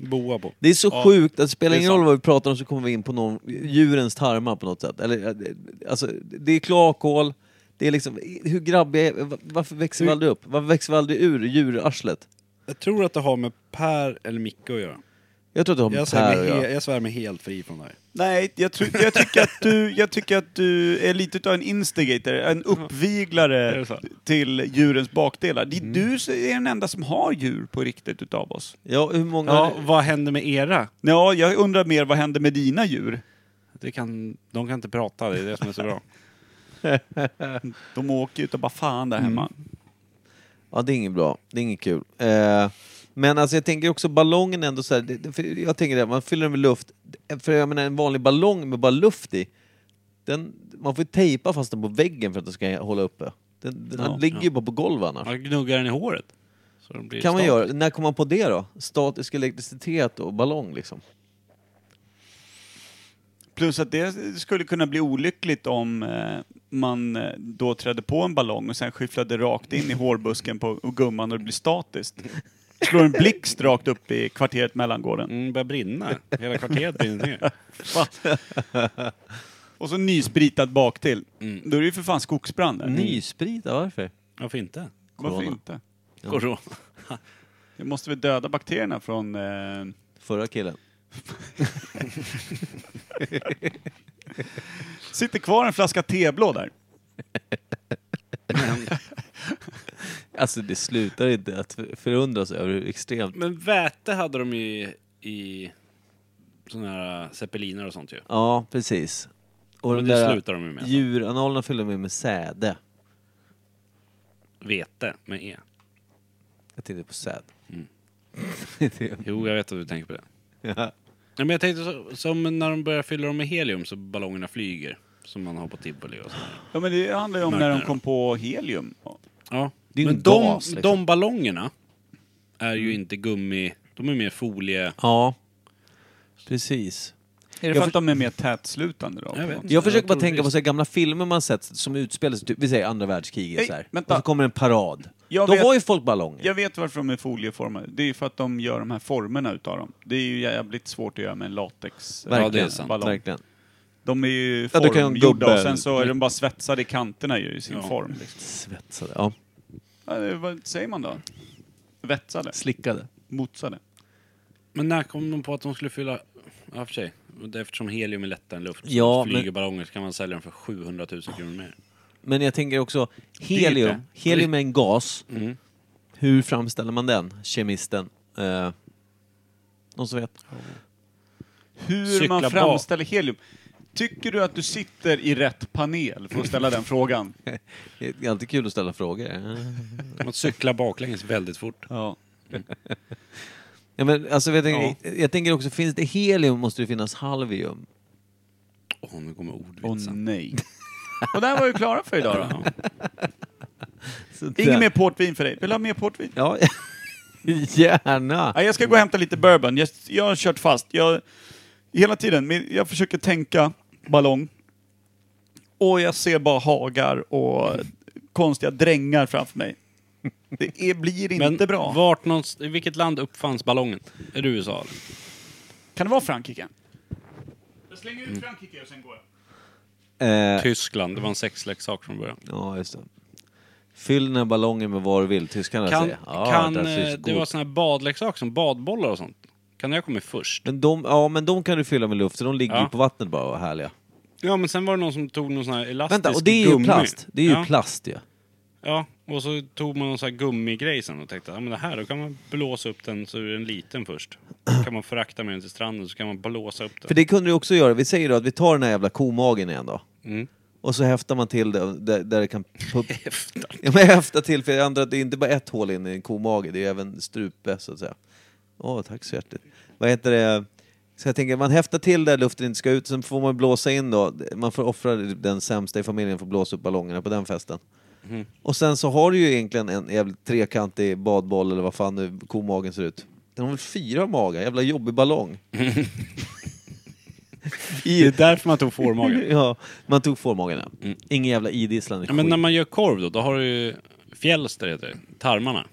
Speaker 1: boa på.
Speaker 3: Det är så
Speaker 2: Ja,
Speaker 3: sjukt, att det spelar
Speaker 2: det är
Speaker 3: ingen roll vad vi pratar om så kommer vi in på någon, djurens tarmar på något sätt. Eller, eh, alltså, det är kloakhål, det är liksom, hur grabbiga är, va- varför växer vi
Speaker 1: Hur-
Speaker 3: aldrig upp? Varför växer vi aldrig ur djurarslet?
Speaker 1: Jag tror att det har med Per eller Micke att göra.
Speaker 3: Jag tror att det har med
Speaker 1: Jag svär,
Speaker 3: Per att
Speaker 1: mig
Speaker 3: göra.
Speaker 1: he- jag svär mig helt fri från det här.
Speaker 2: Nej, jag, tror- jag, tycker att du, jag tycker att du är lite utav en instigator, en
Speaker 1: Är
Speaker 2: uppviglare
Speaker 1: det så?
Speaker 2: till djurens bakdelar. Det är du som är den enda som har djur på riktigt utav oss.
Speaker 3: Ja, hur många...
Speaker 1: Ja, vad händer med era?
Speaker 2: Ja, jag undrar mer vad händer med dina djur?
Speaker 1: Det kan, de kan inte prata, det är det som är så bra.
Speaker 2: De åker ju utav bara fan där hemma.
Speaker 1: Mm.
Speaker 3: Ja, det är inget bra. Det är inget kul. Eh, men alltså jag tänker också ballongen ändå så här, det, det- för jag tänker det, man fyller den med luft. För jag menar en vanlig ballong med bara luft i, den, man får ju tejpa fast den på väggen för att den ska hålla uppe. Den, den
Speaker 2: Ja,
Speaker 3: ligger ju bara på golvet annars.
Speaker 1: Man gnuggar den i håret. Så den blir
Speaker 3: kan man
Speaker 1: statisk.
Speaker 3: göra. När kom man på det då? Statisk elektricitet och ballong liksom.
Speaker 2: Plus att det skulle kunna bli olyckligt om eh, man eh, då trädde på en ballong och sen skyfflade rakt in i hårbusken på och gumman och det blir statiskt. Slår en blixt rakt upp i kvarteret Mellangården.
Speaker 1: Mm, börjar brinna. Hela kvarteret brinner ner.
Speaker 2: Och så nyspritad baktill.
Speaker 1: Mm.
Speaker 2: Då är det ju för fan skogsbrand där.
Speaker 3: Nysprita, varför?
Speaker 1: Varför inte?
Speaker 2: Varför
Speaker 3: Corona.
Speaker 2: inte?
Speaker 1: Corona.
Speaker 2: Det måste vi döda bakterierna från... Eh,
Speaker 3: Förra killen.
Speaker 2: sitter kvar en flaska teblå där.
Speaker 3: Alltså det slutar inte att förundras över hur extremt...
Speaker 1: Men väte hade de ju i sådana här zeppeliner och sånt ju.
Speaker 3: Ja, precis. Och
Speaker 1: Men
Speaker 3: de
Speaker 1: det
Speaker 3: där
Speaker 1: slutar de ju med.
Speaker 3: djuranalerna fyller de med säde.
Speaker 1: Vete med E.
Speaker 3: Jag tänkte på säd.
Speaker 1: Mm.
Speaker 3: Det är-
Speaker 1: Jo, jag vet att du tänker på det.
Speaker 3: ja.
Speaker 1: Ja, men jag tänkte så, som när de börjar fylla dem med helium så ballongerna flyger. Som man har på tivoli och sådär.
Speaker 2: Ja men det handlar ju om när de kom på helium.
Speaker 1: Ja.
Speaker 3: Det är ju
Speaker 1: Men
Speaker 3: en
Speaker 1: de,
Speaker 3: gas, liksom.
Speaker 1: de ballongerna är ju inte gummi, de är mer folie.
Speaker 3: ja, precis.
Speaker 2: Jag för att de är mer tätslutande då.
Speaker 1: Jag vet inte.
Speaker 3: Jag försöker
Speaker 1: Jag
Speaker 3: bara
Speaker 1: tror
Speaker 3: tänka på
Speaker 1: visst.
Speaker 3: så här gamla filmer man sett som utspelar sig, typ, vi säger andra världskriget
Speaker 2: Nej,
Speaker 3: så här.
Speaker 2: vänta.
Speaker 3: Och så kommer en parad.
Speaker 2: Jag
Speaker 3: Då
Speaker 2: vet-
Speaker 3: var ju folk ballonger.
Speaker 2: Jag vet varför de är folieformade. Det är ju för att de gör de här formerna utav dem. Det är ju jävligt svårt att göra med en latex eh,
Speaker 1: Ja, det är
Speaker 3: Verkligen.
Speaker 1: sant.
Speaker 2: ballong.
Speaker 3: Verkligen.
Speaker 2: De är ju
Speaker 3: Ja, du kan göra en
Speaker 2: formgjorda
Speaker 3: gubbe.
Speaker 2: och sen så är de bara svetsade i kanterna ju i sin
Speaker 1: Ja.
Speaker 2: form. Liksom.
Speaker 3: Svetsade. Ja.
Speaker 2: Ja, det- vad säger man då? Vetsade?
Speaker 3: Slickade.
Speaker 2: Motsade?
Speaker 1: Men när kom de på att de skulle fylla... Ja, för sig. Det är Eftersom helium är lättare än luft. så
Speaker 3: Ja,
Speaker 1: flyger
Speaker 3: men-
Speaker 1: ballonger så kan man sälja dem för 700 000 kronor mer.
Speaker 3: Men jag tänker också,
Speaker 1: Dyrt,
Speaker 3: helium,
Speaker 1: ja.
Speaker 3: helium är en gas.
Speaker 1: Mm.
Speaker 3: Hur framställer man den, kemisten? Eh, någon som vet?
Speaker 2: Hur
Speaker 1: Cykla
Speaker 2: man
Speaker 1: bak.
Speaker 2: framställer helium? Tycker du att du sitter i rätt panel för att ställa den frågan?
Speaker 3: Det är alltid kul att ställa frågor. Eh.
Speaker 1: Man cyklar baklänges väldigt fort.
Speaker 2: Ja.
Speaker 3: Ja, men, alltså, jag, tänker, jag tänker också, finns det helium måste det finnas halvium.
Speaker 1: Åh, nu kommer
Speaker 2: Och
Speaker 1: ordvitsen.
Speaker 2: nej. Och där var vi klara för idag då.
Speaker 3: Så där-
Speaker 2: Ingen mer portvin för dig. Vill du ha mer portvin?
Speaker 3: Ja, gärna!
Speaker 2: Ja, jag ska gå och hämta lite bourbon. Jag, jag har kört fast. Jag, hela tiden, men jag försöker tänka ballong. Och jag ser bara hagar och konstiga drängar framför mig. Det är, blir inte
Speaker 1: Men
Speaker 2: bra.
Speaker 1: Vart någonstans, i vilket land uppfanns ballongen? Är det USA? eller?
Speaker 2: Kan det vara Frankrike? Jag slänger ut Frankrike och sen går jag.
Speaker 3: Eh,
Speaker 1: Tyskland. Det var en sexleksak från början.
Speaker 3: ja, just det. Fyll den här ballongen med vad du vill, tyskarna
Speaker 1: Kan,
Speaker 3: säger. Ja,
Speaker 1: kan,
Speaker 3: där syns
Speaker 1: eh, det
Speaker 3: god.
Speaker 1: var sån här badleksak som badbollar och sånt. Kan det ha kommit först?
Speaker 3: men de, ja, men de kan du fylla med luft, så de ligger
Speaker 1: Ja.
Speaker 3: ju på vattnet bara och är härliga.
Speaker 1: Ja, men sen var det någon som tog någon sån här elastisk
Speaker 3: Vänta, och det är ju
Speaker 1: gummi.
Speaker 3: plast. Det är ju
Speaker 1: ja.
Speaker 3: plast ju. Ja.
Speaker 1: Ja, och så tog man någon sån här gummigrej sen och tänkte ja men det här, då kan man blåsa upp den så är den liten först. Då kan man frakta med den till stranden så kan man blåsa upp den.
Speaker 3: För det kunde du också göra. Vi säger då att vi tar den här jävla komagen igen då.
Speaker 1: Mm.
Speaker 3: Och så häftar man till det där, där det kan... pu-
Speaker 1: Efter.
Speaker 3: Ja, men häfta till, för jag antar att det är inte bara ett hål in i en komage, det är även strupe så att säga. Åh, tack så hjärtligt. Vad heter det? Så jag tänker, man häftar till där luften inte ska ut, sen får man blåsa in då. Man får offra den sämsta i familjen för att blåsa upp ballongerna på den festen. Och sen så har du ju egentligen en jävligt trekantig badboll eller vad fan nu komagen ser ut. Den har väl fyra magar, jävla jobbig ballong.
Speaker 1: Det är därför man tog fårmagen.
Speaker 3: ja, man tog fårmagen ja.
Speaker 1: Mm.
Speaker 3: Ingen jävla idisslande
Speaker 1: Ja, men när
Speaker 3: skit.
Speaker 1: man gör korv då, då har du ju fjälster heter det, tarmarna.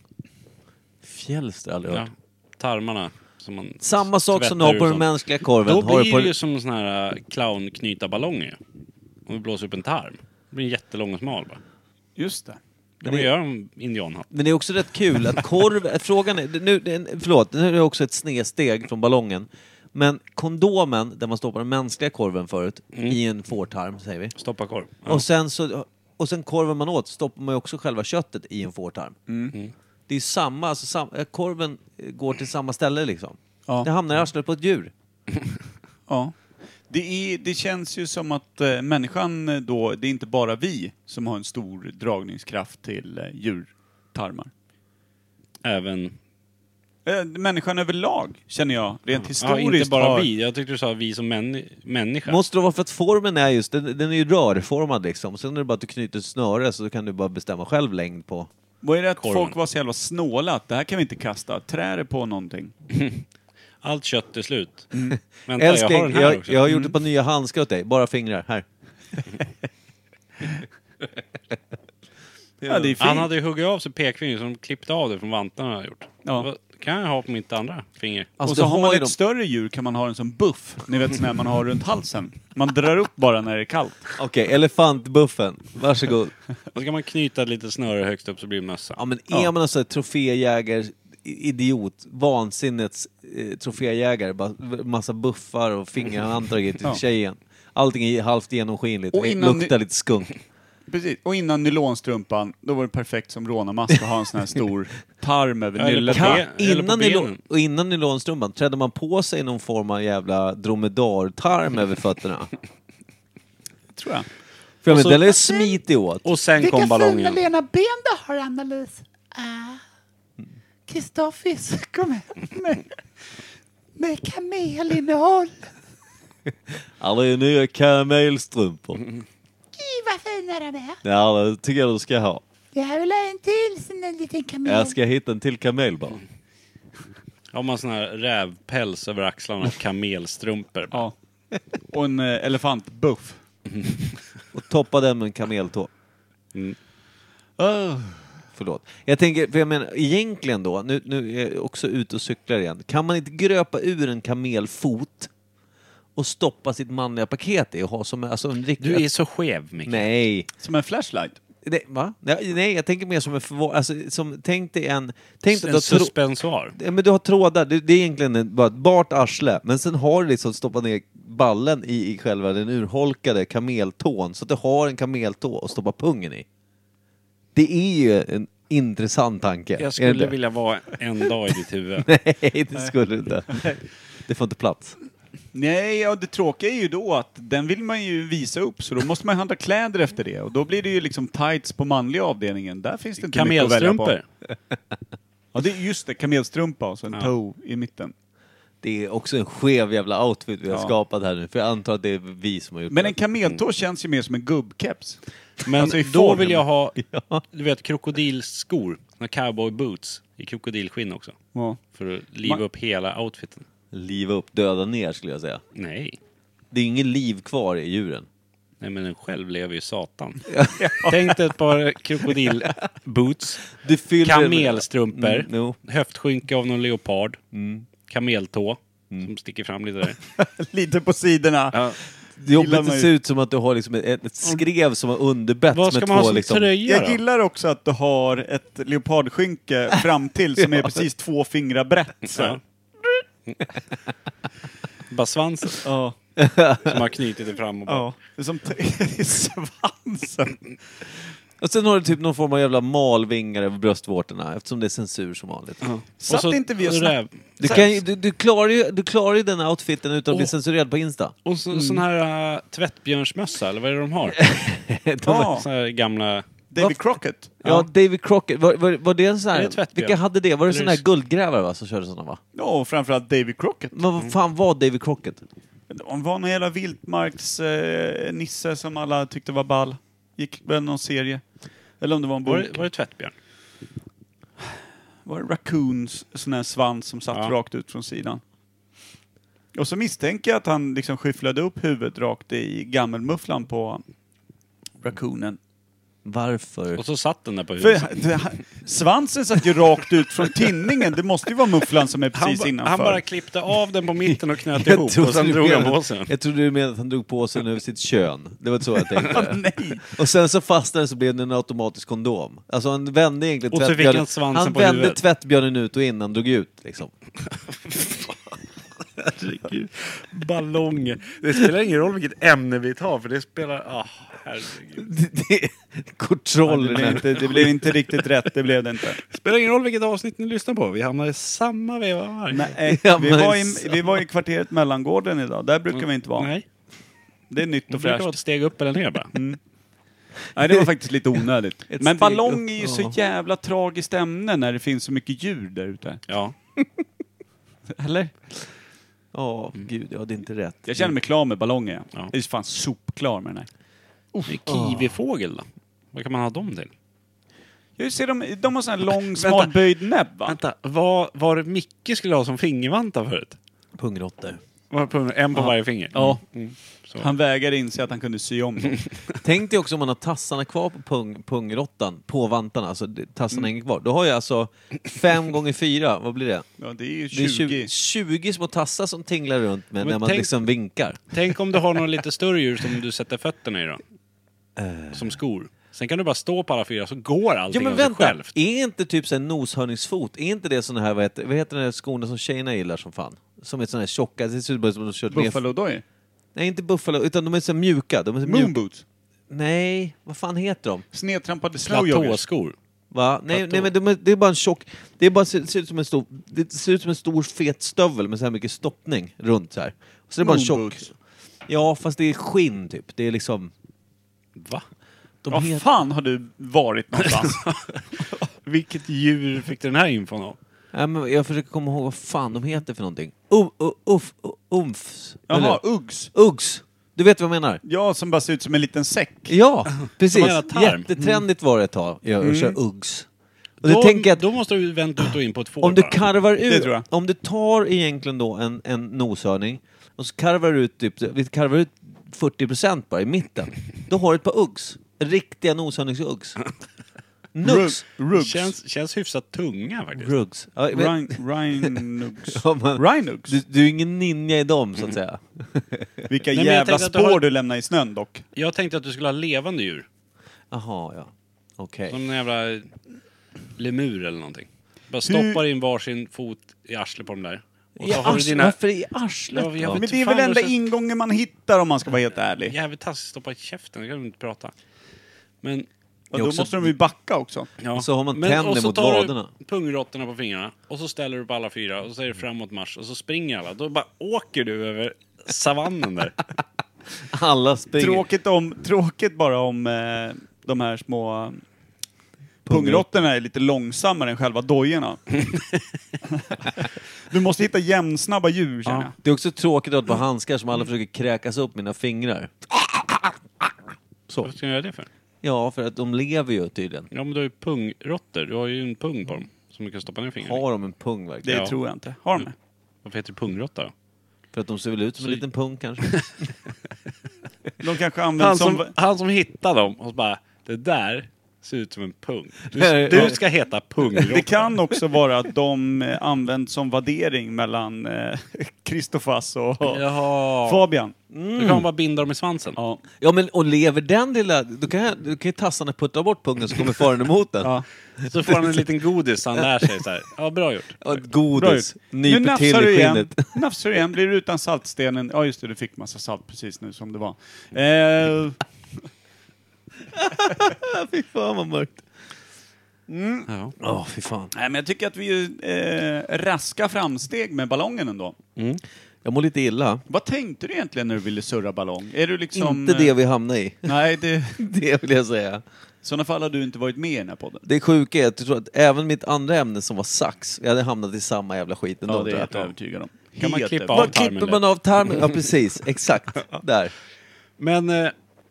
Speaker 3: Fjälster har jag aldrig hört.
Speaker 1: Ja. Tarmarna. Som man
Speaker 3: Samma sak som du
Speaker 1: tvättar
Speaker 3: har
Speaker 1: ur
Speaker 3: på den
Speaker 1: sånt.
Speaker 3: mänskliga korven.
Speaker 1: Då
Speaker 3: har du
Speaker 1: blir
Speaker 3: på
Speaker 1: det ju som sån här äh, clownknytarballonger. Om vi blåser upp en tarm. Det blir en jättelång och smal bara.
Speaker 2: Just det.
Speaker 1: Kan man göra en indianhatt?
Speaker 3: Men det är också rätt kul att korv... att Frågan är... Nu, det är en- förlåt, nu är det också ett snedsteg från ballongen. Men kondomen, där man stoppar den mänskliga korven förut, i en fårtarm, säger vi.
Speaker 1: Stoppa korv. Mm. Ja.
Speaker 3: Och sen så... Och sen korven man åt stoppar man ju också själva köttet i en fårtarm.
Speaker 1: Mm.
Speaker 3: Det är ju samma, alltså sam, eh, korven eh, går till samma ställe liksom.
Speaker 2: Ja.
Speaker 3: Det hamnar i arslet på ett djur.
Speaker 2: Ja. Det, är, det känns ju som att eh, människan eh, då, det är inte bara vi som har en stor dragningskraft till eh, djurtarmar.
Speaker 1: Även...
Speaker 2: Eh, människan överlag känner jag, rent
Speaker 1: Ja,
Speaker 2: historiskt
Speaker 1: inte bara
Speaker 2: har...
Speaker 1: vi. Jag tyckte du sa vi som män, människa.
Speaker 3: Måste det vara för att formen är just, den, den är ju rörformad liksom. Sen är det bara att du knyter ett snöre så kan du bara bestämma själv längd på...
Speaker 2: Vad är det att
Speaker 1: Korven.
Speaker 2: folk var så jävla snåla att det här kan vi inte kasta, trä det på någonting.
Speaker 1: Allt kött är slut. Vänta,
Speaker 3: Mm. Älskling,
Speaker 1: jag har
Speaker 3: jag,
Speaker 1: den här
Speaker 3: jag,
Speaker 1: också. Mm.
Speaker 3: har gjort ett par nya handskar åt dig. Bara fingrar. Här.
Speaker 2: Ja, det är fint.
Speaker 1: Han hade ju huggit av sig pekfingret som klippte av det från vantarna han hade gjort.
Speaker 2: Ja.
Speaker 1: Vad kan jag ha på mitt andra finger?
Speaker 3: Alltså,
Speaker 2: och så
Speaker 3: du
Speaker 2: har
Speaker 3: har
Speaker 2: man
Speaker 3: ju
Speaker 2: ett
Speaker 3: dem.
Speaker 2: större djur kan man ha den som buff. Ni vet sån här man har runt halsen. Man drar upp bara när det är kallt.
Speaker 3: Okej, elefantbuffen. Varsågod.
Speaker 1: Och så kan man knyta ett litet snöre högst upp så blir det
Speaker 3: Ja,
Speaker 1: mössa.
Speaker 3: men är
Speaker 2: Ja.
Speaker 3: man alltså ett troféjägare, i- idiot, vansinnets eh, troféjägare, bara massa buffar och fingerhandtag till
Speaker 2: Ja.
Speaker 3: tjejen. Allting är halvt genomskinligt,
Speaker 2: Och
Speaker 3: och
Speaker 2: innan
Speaker 3: luktar lite skunk.
Speaker 2: Precis, och innan nylonstrumpan, då var det perfekt som rånarmask att ha en sån här stor tarm över
Speaker 1: Eller på
Speaker 2: nyllet.
Speaker 1: ben.
Speaker 2: Kan-
Speaker 1: Eller på
Speaker 3: Innan, nylon,
Speaker 1: benen.
Speaker 3: och innan nylonstrumpan, trädde man på sig någon form av jävla dromedartarm över fötterna?
Speaker 2: Tror jag.
Speaker 3: För jag
Speaker 1: Och så-
Speaker 3: menar, den är smitig åt.
Speaker 1: Och sen kom ballongen.
Speaker 6: lena ben du har, Annalise. Ah. Kristoffis, kom hem med, med kamelinnehåll.
Speaker 3: Alla är nya karamelstrumpor.
Speaker 6: Gud vad fina de är.
Speaker 3: Ja, det tycker jag du ska ha.
Speaker 6: Jag vill ha en till sån där liten kamel.
Speaker 3: Jag ska hitta en till kamel bara.
Speaker 1: Har man sån här rävpäls över axlarna och kamelstrumpor.
Speaker 2: Mm. Ja. Och en eh, elefantbuff.
Speaker 3: Och toppa den med en kameltå. Mm. Ah,
Speaker 2: Oh.
Speaker 3: Förlåt. Jag tänker, för jag menar, egentligen då, nu, nu är jag också ute och cyklar igen. Kan man inte gröpa ur en kamelfot och stoppa sitt manliga paket i och ha som alltså, en riktig...
Speaker 1: Du är så skev Micke.
Speaker 3: Nej.
Speaker 2: Som en flashlight.
Speaker 3: Det, va? Nej, nej, jag tänker mer som en förvar... Alltså, som, tänk dig en... Tänk dig
Speaker 1: En
Speaker 3: att du har trå-
Speaker 1: suspensoar.
Speaker 3: Ja, men du har trådar, det, det är egentligen en, bara ett bart arsle, men sen har du liksom stoppat ner ballen i, i själva den urholkade kameltån, så att du har en kameltå att stoppa pungen i. Det är ju en intressant tanke. är det
Speaker 1: Jag skulle
Speaker 3: inte?
Speaker 1: vilja vara en dag i ditt huvud.
Speaker 3: Nej, det skulle du inte. Det får inte plats.
Speaker 2: Nej, ja, det tråkiga är ju då att den vill man ju visa upp, så då måste man ju handla kläder efter det. Och då blir det ju liksom tights på manliga avdelningen. Där finns det inte mycket att välja på.
Speaker 1: Kamelstrumpor.
Speaker 2: Ja, det är just det. Kamelstrumpa och så en toe i mitten.
Speaker 3: Det är också en skev jävla outfit vi har
Speaker 2: Ja.
Speaker 3: skapat här nu, för jag antar att det är vi som har gjort
Speaker 2: Men
Speaker 3: det.
Speaker 2: en kameltå känns ju mer som en gubbkeps.
Speaker 1: Men
Speaker 2: Alltså i
Speaker 1: då
Speaker 2: form.
Speaker 1: vill jag ha, du vet, krokodilskor. Såna cowboy boots i krokodilskinn också.
Speaker 2: Ja.
Speaker 1: För att liva
Speaker 2: Man-
Speaker 1: upp hela outfiten.
Speaker 3: Liva upp, döda ner skulle jag säga.
Speaker 1: Nej.
Speaker 3: Det är inget liv kvar i djuren.
Speaker 1: Nej men den själv lever ju satan. Tänk dig ett par krokodilboots.
Speaker 3: Du fyller
Speaker 1: Kamelstrumpor.
Speaker 3: Mm, jo.
Speaker 1: Höftskynke av någon leopard.
Speaker 2: Mm.
Speaker 1: Kameltå. Som sticker fram lite där.
Speaker 2: Lite på sidorna.
Speaker 3: Det är jobbigt
Speaker 2: Gillar
Speaker 3: att
Speaker 2: man
Speaker 3: det
Speaker 2: ju.
Speaker 3: ser ut som att du har liksom ett, ett skrev som har underbett
Speaker 1: Vad ska
Speaker 3: med
Speaker 1: man ha
Speaker 3: två
Speaker 1: som
Speaker 3: liksom...
Speaker 1: tröja
Speaker 2: Jag
Speaker 1: då?
Speaker 2: gillar också att du har ett leopardskynke fram till som är precis två fingrar brett. Så.
Speaker 1: Ja. Bara svansen
Speaker 2: Ja.
Speaker 1: som har knutit det fram och bak.
Speaker 2: Ja. Det är som t- i svansen.
Speaker 3: Och sen har du typ någon form av jävla malvingar över bröstvårtorna eftersom det är censur som vanligt.
Speaker 2: Satt inte vi och snackade?
Speaker 1: räv-
Speaker 3: Du, kan ju, du, du, klarar ju, du klarar ju den här outfiten utan att bli
Speaker 1: Åh.
Speaker 3: censurerad på Insta.
Speaker 1: Och så, sån här äh, tvättbjörnsmössa, eller vad är det de har?
Speaker 3: De, ja.
Speaker 2: Ja.
Speaker 1: Sån här gamla...
Speaker 2: David Crockett.
Speaker 3: David Crockett, var, var, var det en sån
Speaker 1: Är det
Speaker 3: här...
Speaker 1: tvättbjörn?
Speaker 3: vilka hade det? Var det
Speaker 1: Eller
Speaker 3: sån här
Speaker 1: är det-
Speaker 3: guldgrävare va, som körde såna va?
Speaker 2: Ja, och framförallt David Crockett.
Speaker 3: Men
Speaker 1: Mm.
Speaker 3: vad fan var David Crockett?
Speaker 2: Han var någon jävla vildmarksnisse eh, nisse som alla tyckte var ball. Gick väl någon serie. Eller om det var en bok.
Speaker 1: Var det, var det tvättbjörn?
Speaker 2: var det raccoons sån här svans som satt
Speaker 1: Ja.
Speaker 2: rakt ut från sidan. Och så misstänker jag att han liksom skyfflade upp huvudet rakt i gammelmufflan på raccoonen.
Speaker 3: Varför?
Speaker 1: Och så satt den där på huvudet.
Speaker 2: För det, svansen satt ju rakt ut från tinningen, det måste ju vara mufflan som är
Speaker 1: Han,
Speaker 2: precis
Speaker 1: ba,
Speaker 2: innanför.
Speaker 1: han bara klippte av den på mitten och knöt ihop och sen
Speaker 3: du
Speaker 1: drog han
Speaker 3: menade-
Speaker 1: på sig den.
Speaker 3: jag trodde du menade att han drog på sig den över sitt kön. Det var inte så jag tänkte.
Speaker 2: Nej!
Speaker 3: Och sen så fastnade den så blev den en automatisk kondom. Alltså han vände egentligen
Speaker 1: Och så fick
Speaker 3: tvättbjörnen-
Speaker 1: han svansen
Speaker 3: han
Speaker 1: på
Speaker 3: vände
Speaker 1: huvudet.
Speaker 3: tvättbjörnen ut och in, han drog ut liksom.
Speaker 1: Herregud. Ballonger. Det spelar ingen roll vilket ämne vi tar för det spelar... Ah, herregud.
Speaker 3: Det- det-
Speaker 2: Det
Speaker 3: Kontrollen
Speaker 2: blev,
Speaker 3: inte.
Speaker 2: inte, det blev inte riktigt rätt, det blev det inte.
Speaker 1: Det spelar ingen roll vilket avsnitt ni lyssnar på. Vi hamnar i samma veva varje gång.
Speaker 2: Nej,
Speaker 3: Ja,
Speaker 2: eh, vi,
Speaker 3: men
Speaker 2: var i,
Speaker 3: så.
Speaker 2: vi var i kvarteret Mellangården idag, där brukar vi inte vara.
Speaker 1: Nej.
Speaker 2: Det är nytt
Speaker 1: Det
Speaker 2: och
Speaker 1: brukar
Speaker 2: fräscht.
Speaker 1: vara ett steg upp eller ner bara.
Speaker 2: Nej, det var faktiskt lite onödigt.
Speaker 3: Ett
Speaker 2: Men
Speaker 3: steg
Speaker 2: ballong
Speaker 3: upp,
Speaker 2: är ju
Speaker 3: ja.
Speaker 2: så jävla tragiskt ämne när det finns så mycket djur där ute.
Speaker 1: Ja.
Speaker 2: Eller?
Speaker 3: Ja, gud, jag hade inte rätt.
Speaker 2: Jag känner mig klar med ballonger.
Speaker 1: Ja.
Speaker 2: Ja. Jag är fan sopklar med den här.
Speaker 1: Kiwifågel då? Vad kan man ha dem till?
Speaker 2: Jag ser dem, de har sån här lång, smal, böjd näbb va?
Speaker 1: Vänta, vad var det Micke skulle ha som fingervanta förut?
Speaker 3: Pungråttor.
Speaker 1: Var det på- En på varje finger?
Speaker 2: Ja.
Speaker 1: Så.
Speaker 2: Han vägrade inse att han kunde sy om dem.
Speaker 3: Tänk dig också om man har tassarna kvar på pung, pungrottan, på vantarna, alltså det- tassarna hänger kvar. Då har jag alltså fem gånger fyra, vad blir det?
Speaker 2: Ja, det är ju
Speaker 3: Det
Speaker 2: 20.
Speaker 3: är 20, 20 små tassar som tinglar runt med
Speaker 1: Men
Speaker 3: när man
Speaker 1: tänk-
Speaker 3: liksom vinkar.
Speaker 1: Tänk om du har några lite större djur som du sätter fötterna i då? Som skor. Sen kan du bara stå på alla fyra så går
Speaker 3: Ja
Speaker 1: allting
Speaker 3: men
Speaker 1: av sig
Speaker 3: vänta,
Speaker 1: självt.
Speaker 3: är inte typ en noshörningsfot, är inte det sån här, vad heter, vad heter den här skorna som tjejerna gillar som fan? Som är sån här tjocka, det ser ut bara som att de har kört ner...
Speaker 2: Buffalo Doy.
Speaker 3: Nej inte buffalo, utan de är så mjuka. De är så mjuka.
Speaker 2: Moonboots.
Speaker 3: Nej, vad fan heter de?
Speaker 2: Snedtrampade slowjoggers.
Speaker 1: Platåskor.
Speaker 3: Va? Nej, nej men de, är- det är bara en tjock... Det är bara, ser, ser, ut som en stor, det ser ut som en stor fet stövel med så här mycket stoppning runt så här. Så det är bara en tjock...
Speaker 2: Moonboots.
Speaker 3: Ja, fast det är skinn typ. Det är liksom...
Speaker 1: Va?
Speaker 3: De
Speaker 2: Vad
Speaker 3: heter-
Speaker 2: fan har du varit någonstans?
Speaker 1: Vilket djur fick du den här infon av?
Speaker 3: Nej, men jag försöker komma ihåg vad fan de heter för någonting. Um, u- uff, u- umfs.
Speaker 2: Jaha,
Speaker 3: eller?
Speaker 2: Uggs.
Speaker 3: Uggs. Du vet vad jag menar?
Speaker 2: Ja, som bara ser ut som en liten säck.
Speaker 3: Ja, precis.
Speaker 1: Som en jävla tarm.
Speaker 3: Jättetrendigt var det ett tag ja, att köra Uggs. Och
Speaker 1: då,
Speaker 3: det tänker jag att
Speaker 1: då måste du vänt ut och in på ett får
Speaker 3: om du
Speaker 1: bara.
Speaker 3: karvar
Speaker 2: Det tror
Speaker 3: ut,
Speaker 2: jag.
Speaker 3: om du tar egentligen då en, en noshörning och så karvar du ut, typ, vi karvar ut 40% bara i mitten, då har du ett par Uggs. Riktiga noshörningsuggs. Nugs.
Speaker 2: Ruggs.
Speaker 1: Känns, känns hyfsat tunga faktiskt.
Speaker 3: Rugs. Ja, men-
Speaker 2: Rhinugs.
Speaker 3: Ja, men-
Speaker 2: Rhinugs.
Speaker 3: du, du är ingen ninja i dem så att säga.
Speaker 2: Vilka
Speaker 1: men jag
Speaker 2: jävla
Speaker 1: tänkte att du
Speaker 2: spår du,
Speaker 1: har-
Speaker 2: lämnar i snön dock.
Speaker 1: Jag tänkte att du skulle ha levande djur.
Speaker 3: Jaha, ja. Okej.
Speaker 1: Som en jävla lemur eller någonting. Bara stoppar in varsin fot i arslet på dem där. Och
Speaker 3: I
Speaker 1: så har du
Speaker 3: arslet-
Speaker 1: dina...
Speaker 3: Varför i arslet?
Speaker 1: Ja, jag
Speaker 3: då?
Speaker 1: vet-
Speaker 2: Men det är
Speaker 1: fan
Speaker 2: väl
Speaker 1: vad
Speaker 2: enda
Speaker 1: känns-
Speaker 2: ingången man hittar om man ska vara helt ärlig.
Speaker 1: Jävligt taskigt, stoppa i käften, då kan du inte prata. Men...
Speaker 2: Och
Speaker 3: Jag
Speaker 2: då
Speaker 3: också-
Speaker 2: måste de ju backa också.
Speaker 1: Ja.
Speaker 3: Och så har man tänder
Speaker 1: och så
Speaker 3: mot
Speaker 1: tar du
Speaker 3: vaderna.
Speaker 1: pungråttorna på fingrarna och så ställer du på alla fyra och så är det framåt mars och så springer alla. Då bara åker du över savannen där.
Speaker 3: Alla springer.
Speaker 2: Tråkigt, om, tråkigt bara om eh, de här små pungråttorna är lite långsammare än själva dojorna. du måste hitta jämnsnabba djur känner jag.
Speaker 3: Det är också tråkigt att ha
Speaker 2: Mm.
Speaker 3: handskar som alla försöker kräkas upp mina fingrar.
Speaker 1: Vad ska jag göra det för?
Speaker 3: Ja, för att de lever ju tydligen.
Speaker 1: Ja men du har ju pungråttor, du har ju en pung på dem som du kan stoppa ner fingrarna i.
Speaker 3: Har de en pung verkligen?
Speaker 2: Det
Speaker 1: Ja. Mm.
Speaker 2: tror jag inte. Har de det?
Speaker 1: Varför heter det pungråtta då?
Speaker 3: För att de ser väl ut som en
Speaker 1: Så-
Speaker 3: liten pung kanske?
Speaker 2: De kanske
Speaker 1: Han
Speaker 2: används som...
Speaker 1: som, han som hittar dem och så bara, det där ser ut som en pung. Du,
Speaker 3: Nej,
Speaker 1: du
Speaker 3: ja.
Speaker 1: ska heta pungråtta.
Speaker 2: Det kan också vara att de eh, används som vaddering mellan eh, Kristofas och
Speaker 1: Jaha.
Speaker 2: Fabian.
Speaker 1: Då kan man bara binda dem i svansen.
Speaker 2: Ja.
Speaker 3: Ja, men och lever den lilla... Då kan, jag, då kan ju tassarna putta bort pungen så kommer faren emot den.
Speaker 2: Ja.
Speaker 1: Så får han en liten godis så han lär sig så här. Ja, bra gjort.
Speaker 3: Och ett
Speaker 2: Bra
Speaker 3: godis
Speaker 2: gjort. Nu
Speaker 3: nyper till
Speaker 2: nafsar du
Speaker 3: i
Speaker 2: igen.
Speaker 3: skinnet.
Speaker 2: Nafsar du igen. Blir du utan saltstenen. Ja just det, du fick massa salt precis nu som det var. Eh,
Speaker 3: Fy fan vad mörkt.
Speaker 2: Mm.
Speaker 1: Ja.
Speaker 3: Ja, fy fan.
Speaker 2: nej men jag tycker att vi är eh, raska framsteg med ballongen ändå.
Speaker 3: Jag mår lite illa.
Speaker 2: Vad tänkte du egentligen när du ville surra ballong? Är du liksom...
Speaker 3: Inte det
Speaker 2: eh,
Speaker 3: vi hamnar i.
Speaker 2: Nej, det, i
Speaker 3: Det vill jag säga.
Speaker 2: sådana fall har du inte varit med i den här podden.
Speaker 3: Det sjuka är att, jag tror att även mitt andra ämne som var sax, jag hade hamnat i samma jävla skit ändå.
Speaker 2: Ja, det är
Speaker 3: tror
Speaker 2: jag
Speaker 3: jag.
Speaker 2: helt övertygad om.
Speaker 1: Kan man
Speaker 2: Helt
Speaker 1: klippa
Speaker 2: övertygad.
Speaker 1: av?
Speaker 3: Vad klipper
Speaker 1: tarmen
Speaker 3: man av tarmen? Ja, precis. Exakt. Där.
Speaker 1: Men eh,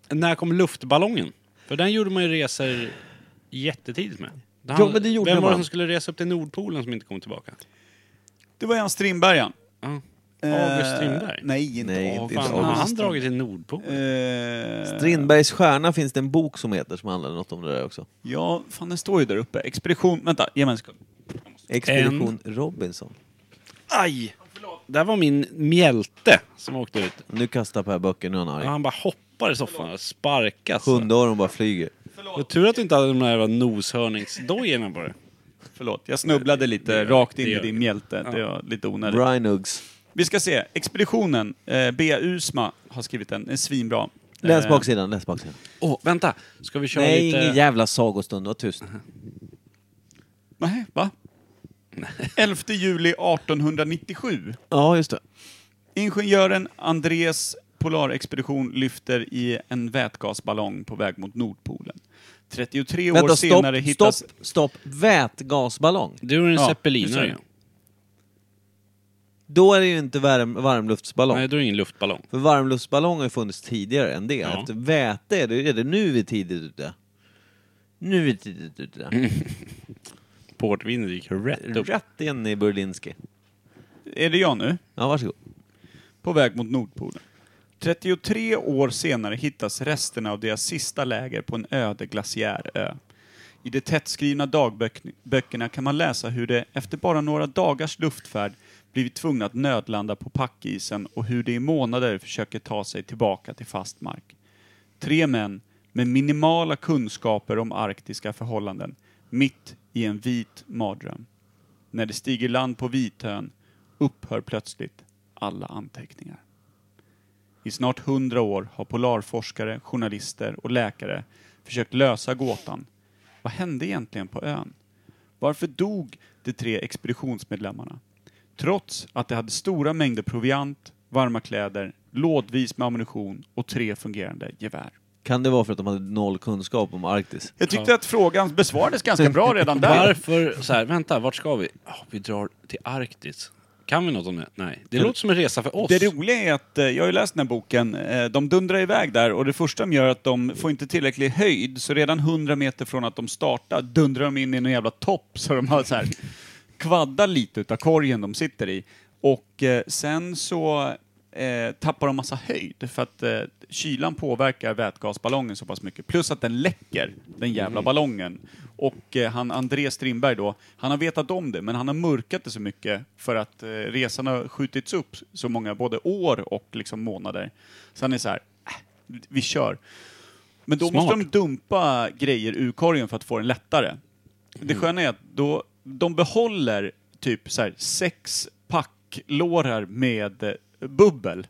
Speaker 1: när kom luftballongen? För den gjorde man ju resor jättetidigt med. Han,
Speaker 3: Ja, men det gjorde
Speaker 1: vem var det
Speaker 3: man.
Speaker 1: som skulle resa upp till Nordpolen som inte kom tillbaka?
Speaker 2: Det var Jan Strindbergen.
Speaker 1: Ja.
Speaker 2: Eh,
Speaker 1: August Strindberg?
Speaker 2: Nej, inte
Speaker 3: Nej,
Speaker 1: Åh,
Speaker 2: August.
Speaker 3: inte
Speaker 1: fan,
Speaker 3: August.
Speaker 1: har han dragit till Nordpolen?
Speaker 2: Eh,
Speaker 3: Strindbergs stjärna finns det en bok som heter som handlar något om det där också.
Speaker 2: Ja, fan den står ju där uppe. Expedition... Vänta, ge mig en sekund.
Speaker 3: Expedition Robinson.
Speaker 1: Aj! Där var min mjälte som åkte ut.
Speaker 3: Nu kastar Per böcker, nu är han
Speaker 1: Ja,
Speaker 3: arg.
Speaker 1: han bara hoppar i soffan och sparkas.
Speaker 3: Hundöron bara flyger.
Speaker 1: Det var tur att du inte hade de där jävla noshörningsdojorna på det.
Speaker 2: Förlåt, jag snubblade lite
Speaker 1: Det gör-
Speaker 2: rakt in
Speaker 1: det
Speaker 2: i
Speaker 1: gör
Speaker 2: din
Speaker 1: inget.
Speaker 2: mjälte. Det var lite onödigt.
Speaker 3: Brian Uggs.
Speaker 2: Vi ska se. Expeditionen. Eh, B. Usma har skrivit den. Den är svinbra.
Speaker 3: Läs
Speaker 2: Eh,
Speaker 3: baksidan, läs baksidan.
Speaker 1: Åh, vänta! Ska vi köra
Speaker 3: Nej,
Speaker 1: lite...
Speaker 3: ingen jävla sagostund, var tyst.
Speaker 2: Mm-hmm. Nej, va? 11 juli 1897.
Speaker 3: Ja, just det.
Speaker 2: Ingenjören Andres Polarexpedition lyfter i en vätgasballong på väg mot Nordpolen. 33 år
Speaker 3: Vänta, stopp,
Speaker 2: senare hittas...
Speaker 3: stopp, stopp. Vätgasballong.
Speaker 1: Du är en
Speaker 2: Ja,
Speaker 1: zeppelinare.
Speaker 2: just
Speaker 3: Då är det ju inte varm, varmluftsballong.
Speaker 1: Nej, du är ingen luftballong.
Speaker 3: För varmluftsballong har ju funnits tidigare än det.
Speaker 1: Ja.
Speaker 3: Efter väte, är det, är det nu vi är tidigt ute. Nu är vi tidigt ute.
Speaker 1: Portvinet gick rätt upp.
Speaker 3: Rätt in i Berlinski.
Speaker 2: Är det jag nu?
Speaker 3: Ja, varsågod.
Speaker 2: på väg mot Nordpolen. 33 år senare hittas resterna av deras sista läger på en öde glaciärö. I de tättskrivna dagböckerna kan man läsa hur de efter bara några dagars luftfärd blivit tvungna att nödlanda på packisen och hur de i månader försöker ta sig tillbaka till fast mark. Tre män med minimala kunskaper om arktiska förhållanden, mitt i en vit mardröm. När de stiger land på Vitön upphör plötsligt alla anteckningar. I snart hundra år har polarforskare, journalister och läkare försökt lösa gåtan. Vad hände egentligen på ön? Varför dog de tre expeditionsmedlemmarna? Trots att de hade stora mängder proviant, varma kläder, lådvis med ammunition och tre fungerande gevär.
Speaker 3: Kan det vara för att de hade noll kunskap om Arktis?
Speaker 2: Jag tyckte att frågan besvarades ganska bra redan där.
Speaker 1: Varför, så här, vänta, vart ska vi? Ja, vi drar till Arktis. Kan vi något om det? Nej. Det låter som en resa för oss.
Speaker 2: Det roliga är att eh, jag har ju läst den här boken. eh, De dundrar iväg där och det första de gör är att de får inte tillräcklig höjd så redan 100 meter från att de startar dundrar de in i någon jävla topp så de har så här kvaddar lite utav korgen de sitter i. Och eh, sen så eh, tappar de massa höjd för att eh, kylan påverkar vätgasballongen så pass mycket. Plus att den läcker, den jävla ballongen. Och eh, han André Strindberg då, han har vetat om det men han har mörkat det så mycket för att eh, resan har skjutits upp så många, både år och liksom månader. Så han är så här, äh, vi kör. Men då måste
Speaker 1: Smart.
Speaker 2: de dumpa grejer ur korgen för att få den lättare. Det sköna är att då, de behåller typ så här sex packlårar med eh, bubbel.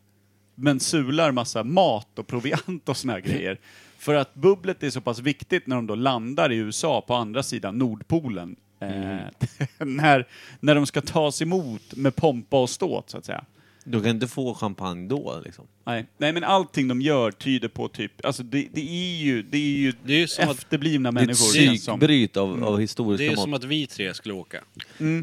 Speaker 2: Men sular massa mat och proviant och såna här grejer. För att bubblet är så pass viktigt när de då landar i USA på andra sidan Nordpolen. Eh, när, när de ska tas emot med pompa och ståt så att säga.
Speaker 3: Du kan inte få champagne då liksom.
Speaker 2: Nej. Nej men allting de gör tyder på typ, alltså det, det är ju, det är ju
Speaker 1: Det är ju som att-
Speaker 2: efterblivna
Speaker 3: Det är ett
Speaker 2: människor. känns som. Mm.
Speaker 3: psykbryt av, av
Speaker 1: Det är ju
Speaker 3: historiska
Speaker 1: som
Speaker 3: mått.
Speaker 1: att vi tre skulle åka.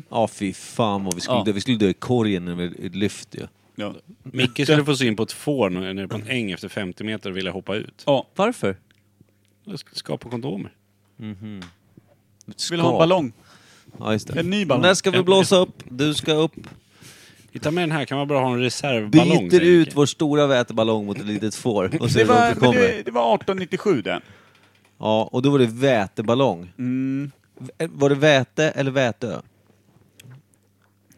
Speaker 3: Ja, fy fan vad vi skulle
Speaker 2: Ja.
Speaker 3: dö. Vi skulle dö i korgen när vi lyfte ju.
Speaker 2: Ja.
Speaker 1: Micke skulle få syn på ett får nu- nere på en äng efter 50 meter och vilja hoppa ut.
Speaker 2: ja.
Speaker 3: Varför?
Speaker 1: Jag ska skapa kondomer.
Speaker 2: Vill ha en ballong?
Speaker 3: Ja, just det.
Speaker 2: En ny ballong.
Speaker 3: När ska vi blåsa upp? Du ska upp.
Speaker 1: Vi tar med den här, kan man bara ha en reservballong?
Speaker 3: Byter
Speaker 1: säger
Speaker 3: ut
Speaker 1: Micke.
Speaker 3: vår stora väteballong mot ett litet får och
Speaker 2: Det
Speaker 3: ser
Speaker 2: var,
Speaker 3: vart vi
Speaker 2: men
Speaker 3: kommer.
Speaker 2: det, det var 1897 det.
Speaker 3: Ja, och då var det väteballong.
Speaker 2: Mm.
Speaker 3: V- Var det väte eller vätö?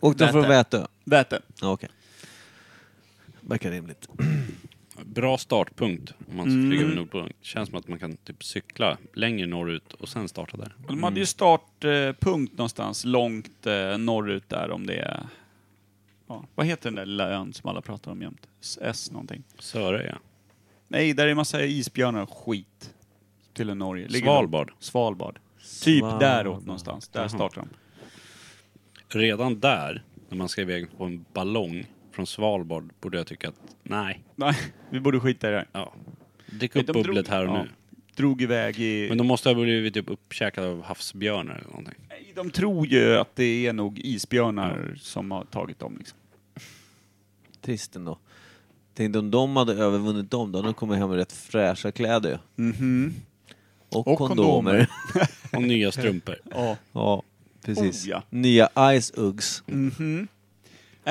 Speaker 3: Åkte de
Speaker 2: Väte.
Speaker 3: från Vätö?
Speaker 2: Väte.
Speaker 3: Ja, okej. Verkar rimligt.
Speaker 1: Bra startpunkt om man
Speaker 3: Mm.
Speaker 1: flyger över Nordpolen. Känns som att man kan typ cykla längre norrut och sen starta där.
Speaker 2: Och De hade ju startpunkt någonstans långt eh, norrut där om det är... Ja, vad heter den där lilla ön som alla pratar om jämt? S- S någonting.
Speaker 1: Söröja.
Speaker 2: Nej, där är massa isbjörnar och skit. Till och Norge. Ligger
Speaker 1: Svalbard.
Speaker 2: de- Svalbard. Typ
Speaker 3: Svalbard.
Speaker 2: däråt någonstans. Där startar de.
Speaker 1: Redan där, när man ska iväg på en ballong från Svalbard, borde jag tycka att nej.
Speaker 2: Nej, vi borde skita i det här.
Speaker 1: Ja. Drick upp
Speaker 2: De drog-
Speaker 1: bubblet här och
Speaker 2: ja,
Speaker 1: nu.
Speaker 2: Drog iväg i...
Speaker 1: Men de måste ha blivit typ uppkäkade av havsbjörnar eller någonting.
Speaker 2: Nej, de tror ju att det är nog isbjörnar som har tagit dem liksom.
Speaker 3: Trist ändå. Tänkte om de hade övervunnit dem, då hade de kommit hem med rätt fräscha kläder ju.
Speaker 2: Mhm.
Speaker 3: Och,
Speaker 2: Och
Speaker 3: kondomer.
Speaker 2: kondomer.
Speaker 1: Och nya strumpor.
Speaker 2: Ja.
Speaker 3: ja, precis.
Speaker 2: Oh, ja.
Speaker 3: Nya Ice Uggs.
Speaker 2: Nej